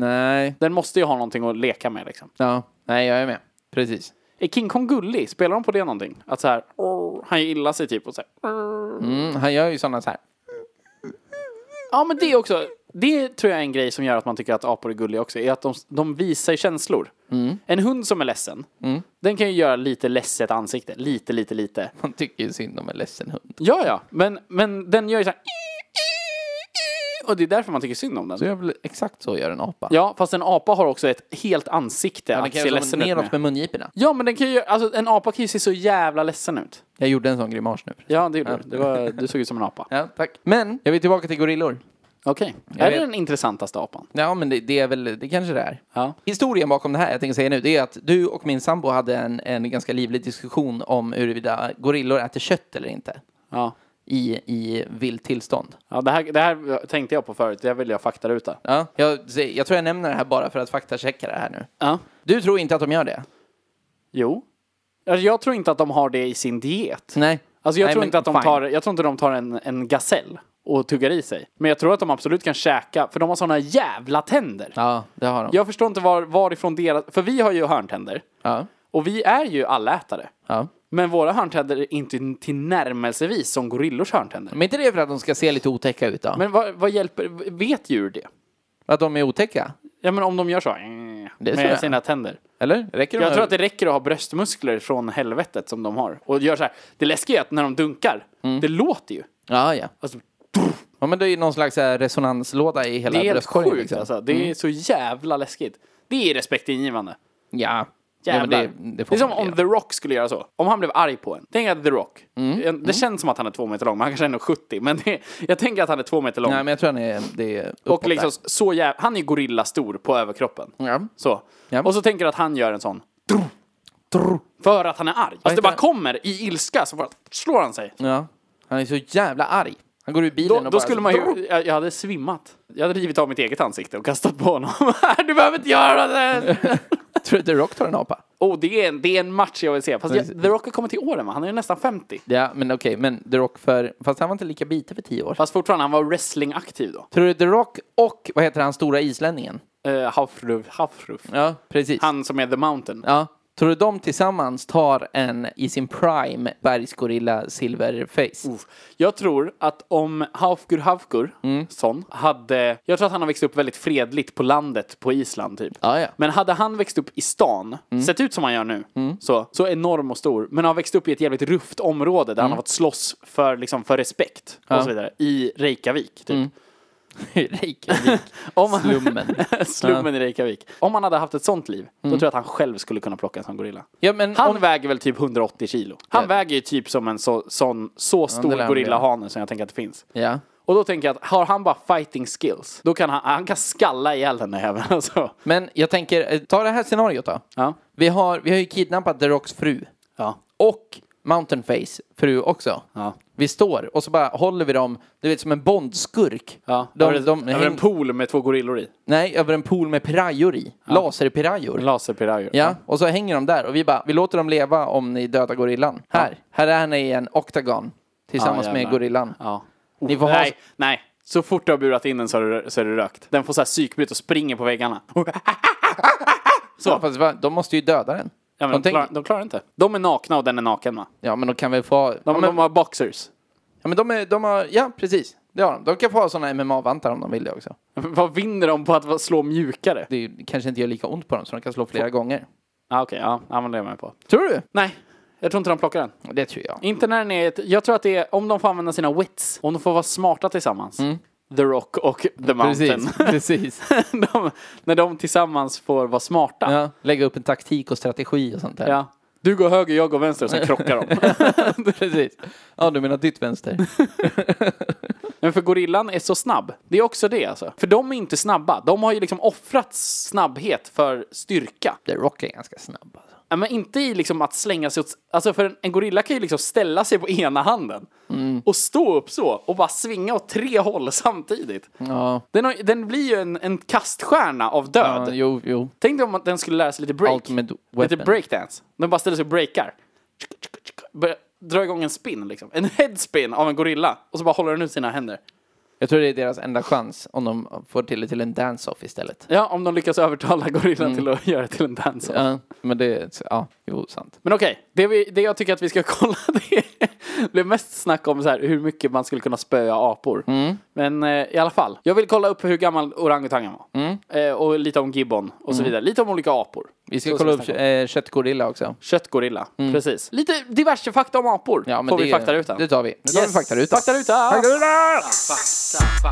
S2: Nej.
S1: Den måste ju ha någonting att leka med liksom.
S2: Ja. Nej, jag är med. Precis.
S1: Är King Kong gullig? Spelar de på det någonting? Att så här, "Åh", han gillar sig typ och så här.
S2: Mm, han gör ju sådana så här.
S1: Ja men det också, det tror jag är en grej som gör att man tycker att apor är gulliga också, är att de, de visar känslor.
S2: Mm.
S1: En hund som är ledsen, den kan ju göra lite ledset ansikte, lite, lite, lite.
S2: Man tycker ju synd om en ledsen hund.
S1: Ja, ja, men, men den gör ju så här. Och det är därför man tycker synd om den.
S2: Så jag vill exakt så gör en apa.
S1: Ja, fast en apa har också ett helt ansikte
S2: Han
S1: att
S2: kan göra
S1: se
S2: som
S1: ledsen ut
S2: neråt
S1: med.
S2: med mungiporna.
S1: Ja, men den kan ju, alltså en apa kan ju se så jävla ledsen ut.
S2: Jag gjorde en sån grimas nu.
S1: Ja, det gjorde du. Det var, du såg ut som en apa.
S2: Ja, tack. Men, jag vill tillbaka till gorillor.
S1: Okej. Är det
S2: vet.
S1: den intressantaste apan?
S2: Ja, men det, det är väl, det kanske det är.
S1: Ja.
S2: Historien bakom det här jag tänker säga nu, det är att du och min sambo hade en, en ganska livlig diskussion om huruvida gorillor äter kött eller inte
S1: Ja.
S2: i, i vilt tillstånd.
S1: Ja, det, här, det här tänkte jag på förut, det här vill jag faktaruta.
S2: Ja, jag, jag tror jag nämner det här bara för att faktachecka det här nu.
S1: Ja.
S2: Du tror inte att de gör det?
S1: Jo. Alltså, jag tror inte att de har det i sin diet.
S2: Nej.
S1: Alltså, jag,
S2: Nej,
S1: tror
S2: men
S1: inte att de
S2: fine.
S1: tar, jag tror inte de tar en, en gasell och tuggar i sig. Men jag tror att de absolut kan käka, för de har såna jävla tänder.
S2: Ja, det har de.
S1: Jag förstår inte var, varifrån deras... För vi har ju hörntänder.
S2: Ja.
S1: Och vi är ju allätare.
S2: ja.
S1: Men våra hörntänder är inte tillnärmelsevis som gorillors hörntänder.
S2: Men inte det för att de ska se lite otäcka ut då?
S1: Men vad, vad hjälper... Vet djur det?
S2: Att de är otäcka?
S1: Ja, men om de gör så... eh,
S2: tror
S1: med
S2: jag.
S1: sina tänder.
S2: Eller? Räcker det
S1: Jag
S2: med-
S1: tror att det räcker att ha bröstmuskler från helvetet som
S2: Mm.
S1: de har. Och gör så här. Det läskiga är att när de dunkar, det låter ju.
S2: Ja, ja.
S1: Alltså,
S2: Ja, men det är ju någon slags så här, resonanslåda i hela
S1: Det är helt
S2: bröstkorgen.
S1: sjukt
S2: liksom.
S1: alltså. Det är så jävla läskigt. Det är respektingivande.
S2: Ja. ja men
S1: Jävlar.
S2: det, det,
S1: det
S2: får
S1: är som
S2: man väl
S1: om
S2: göra.
S1: The Rock skulle göra så. Om han blev arg på en. Tänk att The Rock.
S2: Mm.
S1: Det känns som att han är två meter lång, men han kanske är 1,70. Men det, jag tänker att han är två meter lång.
S2: Nej, men jag tror han är, det är uppåt
S1: och liksom så jävla... Han är ju gorillastor på överkroppen.
S2: där. Ja.
S1: Så.
S2: Ja.
S1: Och så tänker du att han gör en sån. Drr, drr, för att han är arg. Alltså det
S2: heter
S1: bara
S2: han?
S1: kommer i ilska så bara slår han sig.
S2: ja. Han är så jävla arg. Han går ur bilen
S1: Då,
S2: och
S1: då
S2: bara...
S1: skulle man ju, jag, jag hade svimmat. Jag hade rivit av mitt eget ansikte och kastat på honom. du behöver inte göra det!
S2: Tror du The Rock tar en apa?
S1: oh, det, är en, det är en match jag vill se. Fast jag, The Rock har kommit till åren va? Han är ju nästan 50.
S2: Ja, men okej. Men The Rock för... Fast han var inte lika bitig för tio år sedan.
S1: Fast fortfarande, han var wrestlingaktiv då.
S2: Tror du The Rock och, vad heter han, stora islänningen?
S1: Uh, Hafruf, Hafruf.
S2: Ja, precis.
S1: Han som är The Mountain.
S2: Ja. Tror du de tillsammans tar en i sin prime bergsgorilla silverface?
S1: Uff. Jag tror att om Hafgur Hafgur,
S2: Mm.
S1: son, hade... Jag tror att han har växt upp väldigt fredligt på landet på Island typ.
S2: Ah, Ja, Mm. ja.
S1: Men hade han växt upp i stan, sett ut som han gör nu,
S2: Mm.
S1: så, så enorm och stor, men har växt upp i ett jävligt rufft område
S2: Mm.
S1: där han har fått slåss för, liksom, för respekt och så vidare, i Reykjavik typ.
S2: Mm. Reykjavik.
S1: Om han-
S2: Slummen.
S1: Slummen i Reykjavik. Om han hade haft ett sånt liv, då
S2: Mm.
S1: tror jag att han själv skulle kunna plocka en sån gorilla.
S2: Ja, men
S1: Han
S2: om-
S1: väger väl typ 180 kilo. Han
S2: Mm, Ja.
S1: väger ju typ som en så, sån, så
S2: det lär
S1: stor
S2: han
S1: gorillahane som jag tänker att det finns.
S2: Ja.
S1: Och då tänker jag att har han bara fighting skills, då kan han, han kan skalla ihjäl den där jäveln alltså.
S2: Men jag tänker, eh, ta det här scenariot då.
S1: Ja.
S2: Vi har, vi har ju kidnappat The Rocks fru.
S1: Ja.
S2: Och Mountainface fru också.
S1: Ja.
S2: Vi står och så bara håller vi dem, du vet som en bondskurk.
S1: Ja,
S2: de,
S1: över,
S2: de
S1: över
S2: häng-
S1: en pool med två gorillor i.
S2: Nej, över en pool med pirayor i. Laserpirajor.
S1: Laserpirayor.
S2: Ja, och så hänger de där och vi bara, vi låter dem leva om ni dödar gorillan. Här, här är ni i en oktagon tillsammans
S1: Ja,
S2: med
S1: jävlar.
S2: gorillan.
S1: Ja.
S2: Ni får ha-
S1: nej, nej. Så fort du har burat in den så är du, så är du rökt. Den får så här psykbryt och springer på väggarna.
S2: Så. Ja, fast va, de måste ju döda den.
S1: Ja, men
S2: de
S1: de,
S2: tänker-
S1: klarar, de klarar inte. De är nakna och den är naken va?
S2: ja, men de kan väl få ha...
S1: De,
S2: ja, men,
S1: de har boxers.
S2: ja, men de, är, de har... Ja, precis. Det har de. De kan få ha sådana MMA-vantar om de vill det också.
S1: Vad vinner de på att slå mjukare?
S2: Det är, ju- kanske inte gör lika ont på dem så de kan slå flera gånger.
S1: Ah, Okej, ja, ja, men det är jag med på.
S2: Tror du?
S1: Nej, jag tror inte de plockar den.
S2: Det tror jag.
S1: Inte när den är ett, Jag tror att det är om de får använda sina wits, om de får vara smarta tillsammans.
S2: Mm.
S1: The Rock och The Mountain.
S2: Precis, precis.
S1: de, när de tillsammans får vara smarta.
S2: Ja, lägga upp en taktik och strategi och sånt där.
S1: Ja. Du går höger, jag går vänster och sen krockar de.
S2: precis. Ja, du menar ditt vänster?
S1: Men för gorillan är så snabb. Det är också det alltså. För de är inte snabba. De har ju liksom offrat snabbhet för styrka.
S2: The Rock är ganska snabb alltså.
S1: Ja, Men inte i liksom att slänga sig åt... Alltså för en, en gorilla kan ju liksom ställa sig på ena handen
S2: Mm.
S1: och stå upp så och bara svinga åt tre håll samtidigt.
S2: Ja,
S1: Den, har, den blir ju en, en kaststjärna av död.
S2: ja jo, jo.
S1: Tänk dig om att den skulle lära sig lite break.
S2: Ultimate
S1: lite
S2: weapon.
S1: breakdance. Den bara ställer sig och breakar. Börjar dra igång en spin liksom. En headspin av en gorilla. Och så bara håller den ut sina händer.
S2: Jag tror det är deras enda chans om de får till det till en dance-off istället.
S1: Ja, om de lyckas övertala gorillan till att göra till en dansa.
S2: Ja, men det, ja, jo, sant.
S1: Men okej, det, vi, det jag tycker att vi ska kolla det är- det blev mest snack om så här, hur mycket man skulle kunna spöa apor. Men eh, i alla fall, jag vill kolla upp hur gammal orangutangen var. Eh, och lite om gibbon och så vidare. Lite om olika apor.
S2: Vi ska
S1: Så
S2: kolla
S1: Mm. vi
S2: upp
S1: snacka om.
S2: eh, köttgorilla också.
S1: Köttgorilla, precis. Lite diverse fakta om apor
S2: Ja, men
S1: får
S2: det,
S1: vi faktarutan.
S2: Det tar vi. Nu tar vi faktarutan.
S1: Faktaruta!
S2: Faktaruta!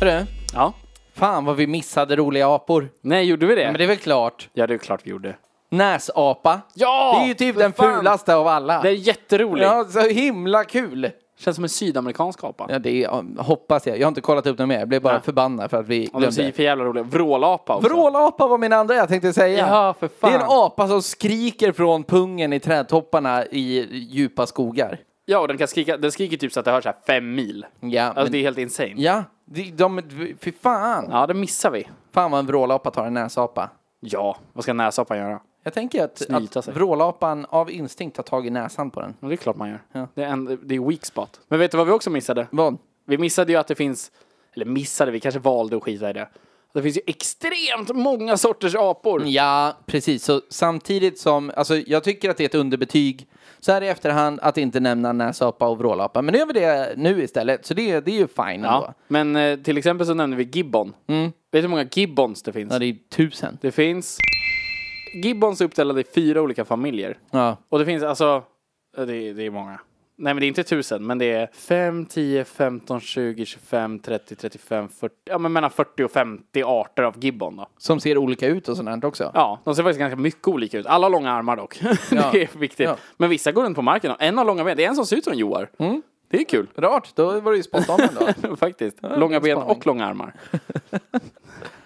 S2: Hörru,
S1: Ja.
S2: fan vad vi missade roliga apor.
S1: Nej, gjorde vi det?
S2: Men det är väl klart.
S1: Ja, det är klart vi gjorde.
S2: Näsapa.
S1: Ja!
S2: Det är ju typ
S1: för
S2: den
S1: fan!
S2: fulaste av alla.
S1: Den är jätterolig.
S2: Ja, så himla kul!
S1: Känns som en sydamerikansk apa.
S2: Ja, det är, ja, hoppas jag. Jag har inte kollat upp något mer. Jag blev bara
S1: Nej.
S2: förbannad för att vi
S1: Och de ser
S2: glömde.
S1: ju för jävla roliga. Vrålapa också.
S2: Vrålapa var min andra jag tänkte säga.
S1: Ja, för fan.
S2: Det är en apa som skriker från pungen i trädtopparna i djupa skogar.
S1: Ja, och den kan skrika. Den skriker typ så att det hörs så här fem mil.
S2: Ja,
S1: Alltså
S2: men,
S1: det är helt insane. Ja.
S2: ja de, de, fy fan.
S1: ja, det missar vi.
S2: Fan vad en vrålapa tar en näsapa.
S1: Ja, vad ska näsapan göra?
S2: Jag tänker att,
S1: Snyta
S2: att
S1: sig.
S2: vrålapan av instinkt tar tag i näsan på den.
S1: Men det är klart man gör. Det, är en, det är weak spot. Men vet du vad vi också missade?
S2: Vad?
S1: Vi missade ju att det finns, eller missade, vi kanske valde att skita i det. Det finns ju extremt många sorters apor.
S2: Ja, precis. Så samtidigt som, alltså jag tycker att det är ett underbetyg så här i efterhand att inte nämna näsapa och vrålapa. Men nu gör vi det nu istället, så det, det är ju fine ändå.
S1: Ja. Men eh, till exempel så nämnde vi gibbon. Vet du hur många gibbons det finns?
S2: Ja,
S1: det...
S2: det är tusen.
S1: finns Gibbons är uppdelade i fyra olika familjer.
S2: Ja.
S1: Och det finns alltså, det är, det är många. Nej men det är inte tusen, men det är 5, 10, 15, 20, 25, 30, 35, 40, ja men mellan 40 och 50 arter av gibbon då.
S2: Som ser olika ut och sånt här också.
S1: Ja, de ser faktiskt ganska mycket olika ut. Alla har långa armar dock. det är viktigt.
S2: Ja.
S1: Men vissa går runt på marken och en har långa ben. Det är en som ser ut som Joar.
S2: Mm.
S1: Det är kul.
S2: Rart, då var det ju spontant ändå.
S1: Faktiskt. långa
S2: en
S1: ben
S2: spaning.
S1: och långa armar.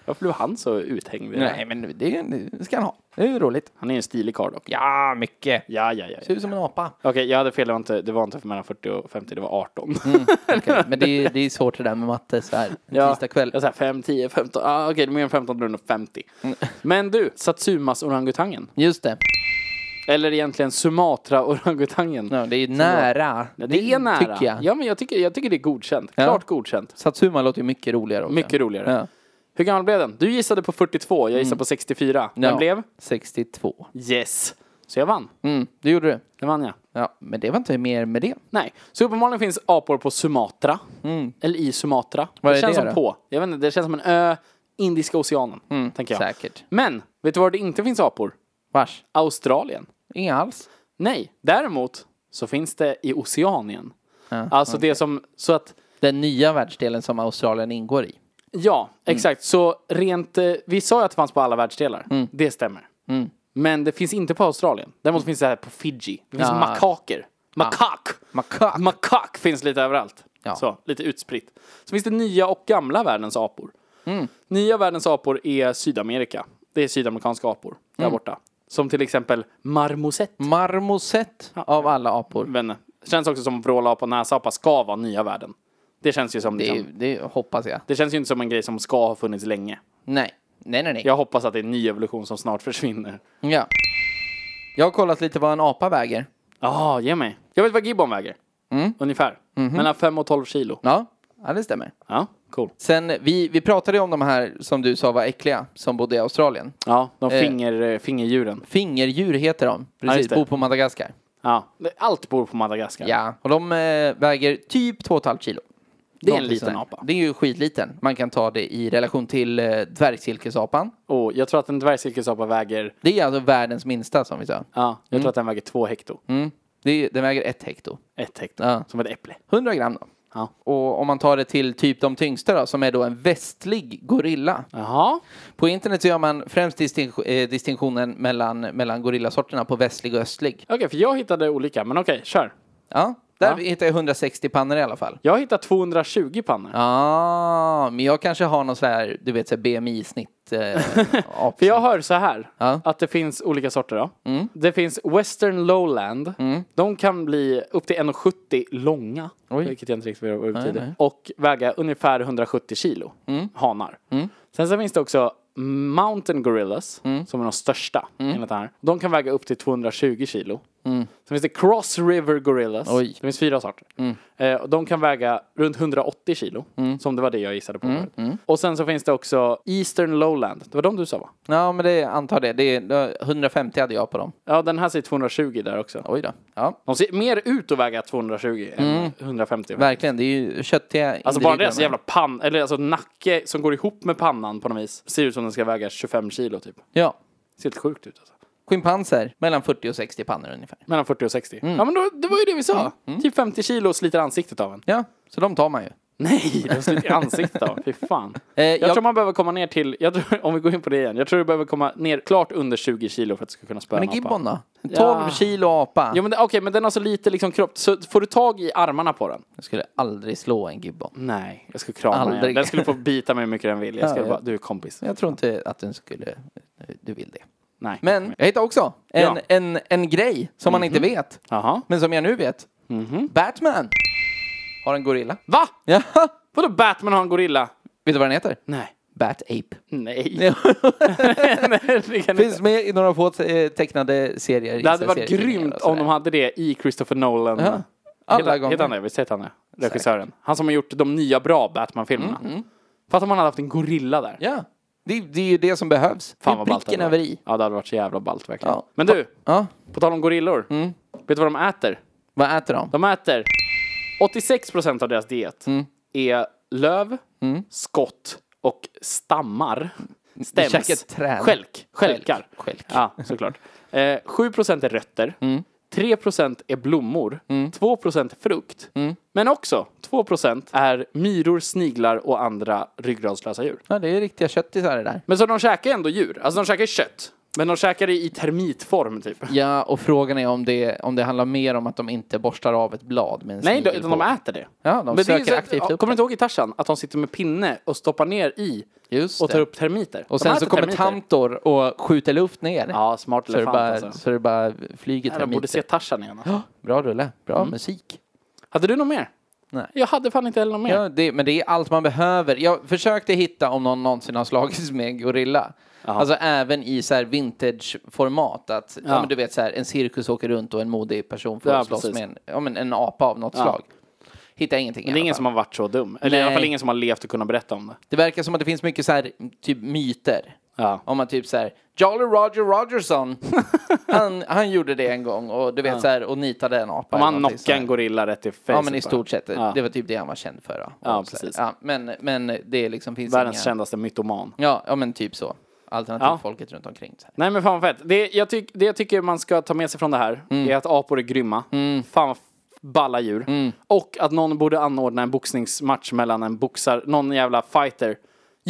S1: Varför blev han så uthängd? vid det här?
S2: Nej, men det, det ska han ha. Det är ju roligt.
S1: Han är ju en stilig karl dock.
S2: Ja, mycket.
S1: Ja, ja, ja. ja.
S2: Ser ut som en apa.
S1: Okej, jag hade fel. Det var, inte, det var inte mellan 40 och 50, det var 18.
S2: Okej, Men det är, det är svårt det där med matte så här. En Mm, tisdag kväll.
S1: Jag sa 5, 10, 15. Ah, Okej, det är mer än 15 rundor 50.
S2: Mm.
S1: Men du, Satsumas orangutangen.
S2: Just det.
S1: Eller egentligen Sumatra-orangutangen.
S2: Ja, det är nära.
S1: Ja, Det är nära.
S2: Tycker jag.
S1: Ja, men jag tycker, jag tycker det är godkänt.
S2: Ja.
S1: Klart godkänt.
S2: Satsuma låter ju mycket roligare också.
S1: Mycket roligare.
S2: Ja. Mm.
S1: Hur gammal blev den? Du gissade på 42, jag gissade på 64. Den
S2: Ja.
S1: blev?
S2: 62.
S1: Yes. Så jag vann.
S2: Mm, det gjorde du.
S1: Det vann jag.
S2: Ja, men det var inte mer med det.
S1: Nej, så uppenbarligen finns apor på Sumatra. Eller i Sumatra.
S2: Mm. Vad är
S1: känns
S2: det
S1: som
S2: då? Mm.
S1: på. Jag vet inte, det känns som en ö, Indiska oceanen. tänker jag.
S2: Säkert.
S1: Men, vet du var det inte finns apor?
S2: Vars?
S1: Australien.
S2: Inga alls.
S1: Nej, däremot så finns det i Oceanien. alltså det som, så att,
S2: Den nya världsdelen som Australien ingår i.
S1: ja,
S2: Mm.
S1: exakt. Så rent, eh, vi sa ju att det fanns på alla världsdelar.
S2: Mm.
S1: Det stämmer. Men det finns inte på Australien. Däremot finns det här på Fiji. Det finns
S2: Ja.
S1: makaker. Makak!
S2: Ah. Makak.
S1: Makak finns lite överallt.
S2: Ja.
S1: Så, lite utspritt. Så finns det nya och gamla världens apor.
S2: Mm.
S1: Nya världens apor är Sydamerika. Det är sydamerikanska apor där
S2: Mm.
S1: borta. Som till exempel marmosett.
S2: Marmoset av alla apor.
S1: Men känns också som vrålapa och näsapa ska vara nya världen. Det känns ju som
S2: Det,
S1: liksom,
S2: är- det hoppas jag.
S1: det känns ju inte som en grej som ska ha funnits länge.
S2: Nej. Nej, nej, nej.
S1: Jag hoppas att det är en ny evolution som snart försvinner.
S2: Ja. Jag har kollat lite vad en apa väger.
S1: Ja, ge mig. Jag vet vad gibbon väger.
S2: Mm.
S1: Ungefär.
S2: Mhm.
S1: Mellan 5 och 12 kilo.
S2: Ja, ja det stämmer.
S1: Ja, cool.
S2: Sen, vi, vi pratade ju om de här som du sa var äckliga, som bodde i Australien.
S1: Ja, de
S2: Eh.
S1: finger, eh, fingerdjuren.
S2: Fingerdjur heter de, precis,
S1: just det.
S2: bor på Madagaskar.
S1: Ja, det- allt bor på Madagaskar.
S2: Ja, och de eh, väger typ 2,5 kilo.
S1: Det är en
S2: Någonting
S1: liten
S2: sådär.
S1: apa.
S2: Det är ju skitliten. Man kan ta det i relation till eh, dvärgsilkesapan.
S1: Och jag tror att en dvärgsilkesapa väger,
S2: Det är alltså världens minsta som vi sa.
S1: ja, jag tror att den väger två hekto.
S2: Mm. Det är, den väger ett hekto.
S1: Ett hekto.
S2: Ja.
S1: Som ett äpple.
S2: 100 gram då.
S1: Ja.
S2: Och om man tar det till typ de tyngsta då, som är då en västlig gorilla.
S1: Jaha.
S2: På internet så gör man främst distin- eh, distinktionen mellan, mellan gorillasorterna på västlig och östlig.
S1: Okej, för jag hittade olika, men okej, kör.
S2: Ja, där hittar jag 160 pannor i alla fall.
S1: Jag hittade 220 pannor.
S2: Ja, men jag kanske har någon sån här, du vet, så här BMI-snitt. Eh,
S1: För jag hör så här,
S2: Ja. Mm.
S1: att det finns olika sorter då. Det finns western lowland. De kan bli upp till 1,70 långa.
S2: Oj.
S1: Vilket jag inte riktigt vet vad det betyder.
S2: nej. Mm.
S1: Och väga ungefär 170 kilo hanar. Sen så finns det också mountain gorillas,
S2: Mm.
S1: som är de största enligt det här. De kan väga upp till 220 kilo. Sen finns det cross river gorillas.
S2: Mm. Oj. Mm.
S1: Det finns fyra sorter. Eh, och de kan väga runt 180 kilo, som det var det jag gissade
S2: Mm.
S1: på förut. Och sen så finns det också eastern lowland. Det var de du sa va?
S2: ja, men det antar det. det är, 150 hade jag på dem.
S1: Ja, den här säger 220 där också.
S2: Oj då. Ja,
S1: De ser mer ut att väga 220 än 150.
S2: Mm. verkligen. Det är ju köttiga
S1: Alltså bara
S2: individer.
S1: deras jävla pann, eller alltså nacke som går ihop med pannan på något vis. Ser ut som den ska väga 25 kilo typ.
S2: Ja.
S1: Ser helt sjukt ut alltså.
S2: Schimpanser, mellan 40 och 60 pannor ungefär.
S1: Mellan 40 och 60.
S2: Mm.
S1: Ja men då, det var ju det vi sa. Typ 50 kilo sliter ansiktet av en.
S2: Ja, så de tar man ju.
S1: Nej, de sliter ansiktet av en. Fy fan.
S2: Eh,
S1: jag,
S2: jag-
S1: tror man behöver komma ner till, jag tror, om vi går in på det igen. Jag tror du behöver komma ner klart under 20 kilo för att du ska kunna spöa
S2: Men
S1: en apa.
S2: gibbon då? 12
S1: Ja.
S2: kilo apa.
S1: Jo men det- okej, men den har så lite liksom kropp. Så får du tag i armarna på den?
S2: Jag skulle aldrig slå en gibbon.
S1: Nej, jag skulle krama
S2: Aldrig.
S1: den. Den skulle få bita mig hur mycket den vill. Jag skulle
S2: Ja, ja.
S1: bara, du är kompis.
S2: Jag tror inte att den skulle... Du vill det.
S1: Nej.
S2: Men jag hittade också en,
S1: Ja. Mhm.
S2: en, en grej som man inte vet,
S1: Jaha.
S2: men som jag nu vet.
S1: Mhm.
S2: Batman har en gorilla.
S1: Va?
S2: Ja,
S1: Vadå Batman har en gorilla?
S2: vet du vad den heter?
S1: Nej.
S2: Bat-Ape.
S1: Nej.
S2: Ja.
S1: Nej det, kan
S2: Finns
S1: inte.
S2: med i några få eh, tecknade serier.
S1: det hade varit
S2: serietidningar
S1: grymt
S2: och sådär.
S1: om de hade det i Christopher Nolan.
S2: Ja. Alla
S1: Heter-
S2: gånger.
S1: Heter han det? Visst heter han det? Regissören. Han som har gjort de nya bra Batman-filmerna. Fattar om han hade haft en gorilla där.
S2: Mm, Ja, det, det är ju det som behövs.
S1: Fan
S2: det
S1: vad
S2: är
S1: ballt det
S2: pricken
S1: hade
S2: över
S1: varit.
S2: i.
S1: Ja det hade varit så jävla ballt verkligen.
S2: Ja. Mm.
S1: Men du,
S2: Ja,
S1: på tal om gorillor. Vet du vad de äter?
S2: vad äter de?
S1: De äter 86% av
S2: Mm.
S1: deras diet är löv, skott och stammar. stäms.
S2: Käket Mm. träd.
S1: Stjälk. Stjälkar.
S2: Stjälk.
S1: Ja, såklart. Eh, 7% är rötter.
S2: Mm.
S1: 3% är blommor. 2% är frukt.
S2: Mm.
S1: Men också 2% är myror, sniglar och andra ryggraslösa djur.
S2: Ja, det är riktiga köttisar det där.
S1: Men så de käkar ändå djur. Alltså de käkar kött. Men de käkar det i termitform typ.
S2: Ja, och frågan är om det, om det handlar mer om att de inte borstar av ett blad med en
S1: Nej, de,
S2: snigel
S1: utan
S2: på.
S1: de äter det.
S2: Ja, de
S1: det är
S2: söker
S1: ju så-
S2: aktivt upp
S1: Kommer du
S2: det.
S1: inte ihåg i Tarzan? Att de sitter med pinne och stoppar ner i
S2: Just
S1: och tar
S2: det.
S1: upp termiter.
S2: Och
S1: de
S2: sen så
S1: äter
S2: kommer
S1: termiter.
S2: Tantor och skjuter luft ner.
S1: Ja, smart
S2: så, det
S1: elefant
S2: bara,
S1: alltså.
S2: så det bara flyger
S1: Nej, de
S2: termiter.
S1: borde se Tarzan igen. alltså.
S2: Bra rulle, bra musik.
S1: Hade du något mer?
S2: Nej.
S1: Jag hade fan inte heller något mer.
S2: Ja, det, men det är allt man behöver. Jag försökte hitta om någon någonsin har slagits med en gorilla. Alltså även i så här vintage-format. Att, ja.
S1: Ja.
S2: men du vet så här, en cirkus åker runt och en modig person får
S1: Ja,
S2: slåss
S1: precis.
S2: med en, ja, men en apa av något slag. Hitta ingenting
S1: Men
S2: i
S1: det är
S2: alla
S1: ingen
S2: fall.
S1: som har varit så dum. Eller i alla
S2: Nej.
S1: fall ingen som har levt och kunnat berätta om det.
S2: Det verkar som att det finns mycket så här, typ myter.
S1: Ja.
S2: Om man typ så här, Jolly Roger Rogerson, han, han gjorde det en gång och du vet så här, och nitade en apa.
S1: Om han
S2: eller någonting
S1: knockar
S2: så här.
S1: en gorilla rätt i face.
S2: Ja men i stort sett,
S1: Ja.
S2: det var typ det han var känd för. Då.
S1: Ja,
S2: Och så här.
S1: precis.
S2: Ja, men, men det liksom finns
S1: Världens
S2: inga...
S1: kändaste mytoman.
S2: Ja, ja men typ så. Alternativt
S1: Ja.
S2: folket runt omkring. Så här.
S1: Nej men fan vad fett. Det jag, tyck, det jag tycker man ska ta med sig från det här
S2: Mm.
S1: är att apor är grymma. Fan vad f- balla djur.
S2: Mm.
S1: Och att någon borde anordna en boxningsmatch mellan en boxar, någon jävla fighter.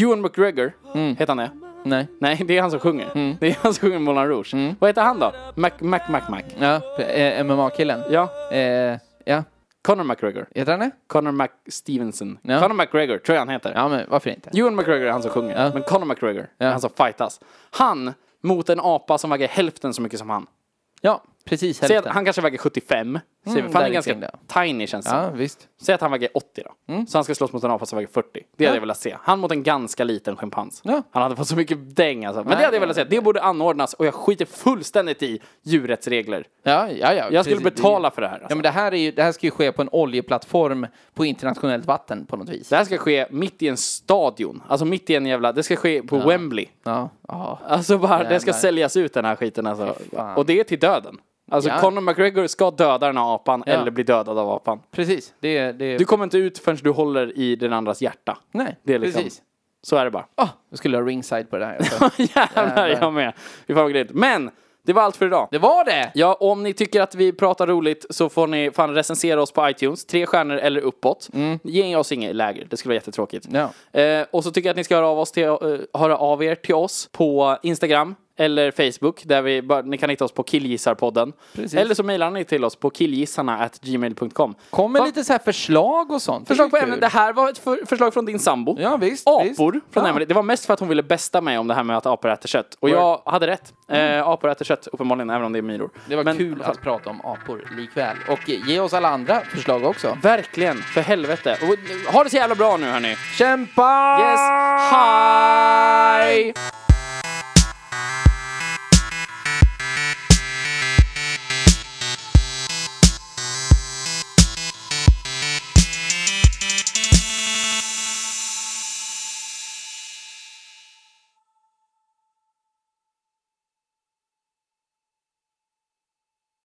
S1: Ewan McGregor,
S2: Mm.
S1: heter han det?
S2: Nej.
S1: Nej, det är han som sjunger.
S2: Mm.
S1: Det är han som sjunger Moulin Rouge. Vad heter han då? Mac, Mac, Mac, Mac.
S2: Ja, eh, MMA-killen.
S1: Ja,
S2: Eh, ja,
S1: Conor McGregor.
S2: heter han det?
S1: Conor Mac Stevenson.
S2: Ja.
S1: Conor McGregor tror jag han heter.
S2: Ja, men varför inte?
S1: Ewan McGregor är han som sjunger, men Conor McGregor är
S2: Ja.
S1: han som fightas. Han mot en apa som väger hälften så mycket som han.
S2: Ja, precis
S1: Säg att
S2: hälften.
S1: han kanske väger 75. Säg, för han är
S2: Mm, där
S1: ganska
S2: kring det.
S1: tiny känns det
S2: Ja, Mm.
S1: som.
S2: visst.
S1: Säg att han väger 80 då. Så han ska slåss mot en apa som väger 40. Det hade jag velat se. Han mot en ganska liten schimpans.
S2: Ja.
S1: Han hade fått så mycket däng alltså. Men det hade jag
S2: nej,
S1: velat se. Det borde anordnas och jag skiter fullständigt i djurrättsregler.
S2: Ja, ja, ja.
S1: Jag skulle
S2: precis.
S1: betala för det här.
S2: Ja,
S1: Alltså.
S2: men det här, är ju, det här ska ju ske på en oljeplattform på internationellt vatten på något vis.
S1: Det här ska ske mitt i en stadion. Alltså mitt i en jävla... Det ska ske på Wembley.
S2: Ja, ja.
S1: Alltså bara, det ska
S2: Jävlar.
S1: säljas ut den här skiten alltså.
S2: fan.
S1: Och det är till döden. Alltså
S2: Ja.
S1: Conor McGregor ska döda den här apan eller bli dödad av apan.
S2: precis. Det, det,
S1: Du kommer inte ut förrän du håller i den andras hjärta.
S2: Nej,
S1: det är liksom-
S2: precis.
S1: Så är det bara.
S2: Ah, jag skulle ha ringside på det här. också.
S1: Jävlar, jag med. Vi får grymt. Men, det var allt för idag.
S2: det var det!
S1: Ja, om ni tycker att vi pratar roligt så får ni fan recensera oss på iTunes. Tre stjärnor eller uppåt. Ge oss inget läger, det skulle vara jättetråkigt.
S2: Mm. Ja.
S1: Eh, och så tycker jag att ni ska höra av, oss till, eh, höra av er till oss på Instagram eller Facebook. Där vi bara, ni kan hitta oss på killgissarpodden.
S2: Precis.
S1: Eller så mejlar ni till oss på killgissarna.gmail.com.
S2: Kom med
S1: Va?
S2: lite så här förslag och sånt.
S1: Förslag på
S2: Det är
S1: ämnen. Det
S2: kul.
S1: här var ett för, förslag från din sambo.
S2: Ja, visst.
S1: Apor
S2: visst.
S1: från
S2: ja.
S1: Emily. Det var mest för att hon ville bästa mig om det här med att apor äter kött. Och
S2: Word.
S1: jag hade rätt. Eh, apor äter kött uppenbarligen, även om det är myror.
S2: Det var
S1: Men-
S2: kul att prata om apor likväl. Och ge oss alla andra förslag också.
S1: Verkligen, för helvete. Och, ha det så jävla bra nu hörni.
S2: Kämpa!
S1: Yes, hej!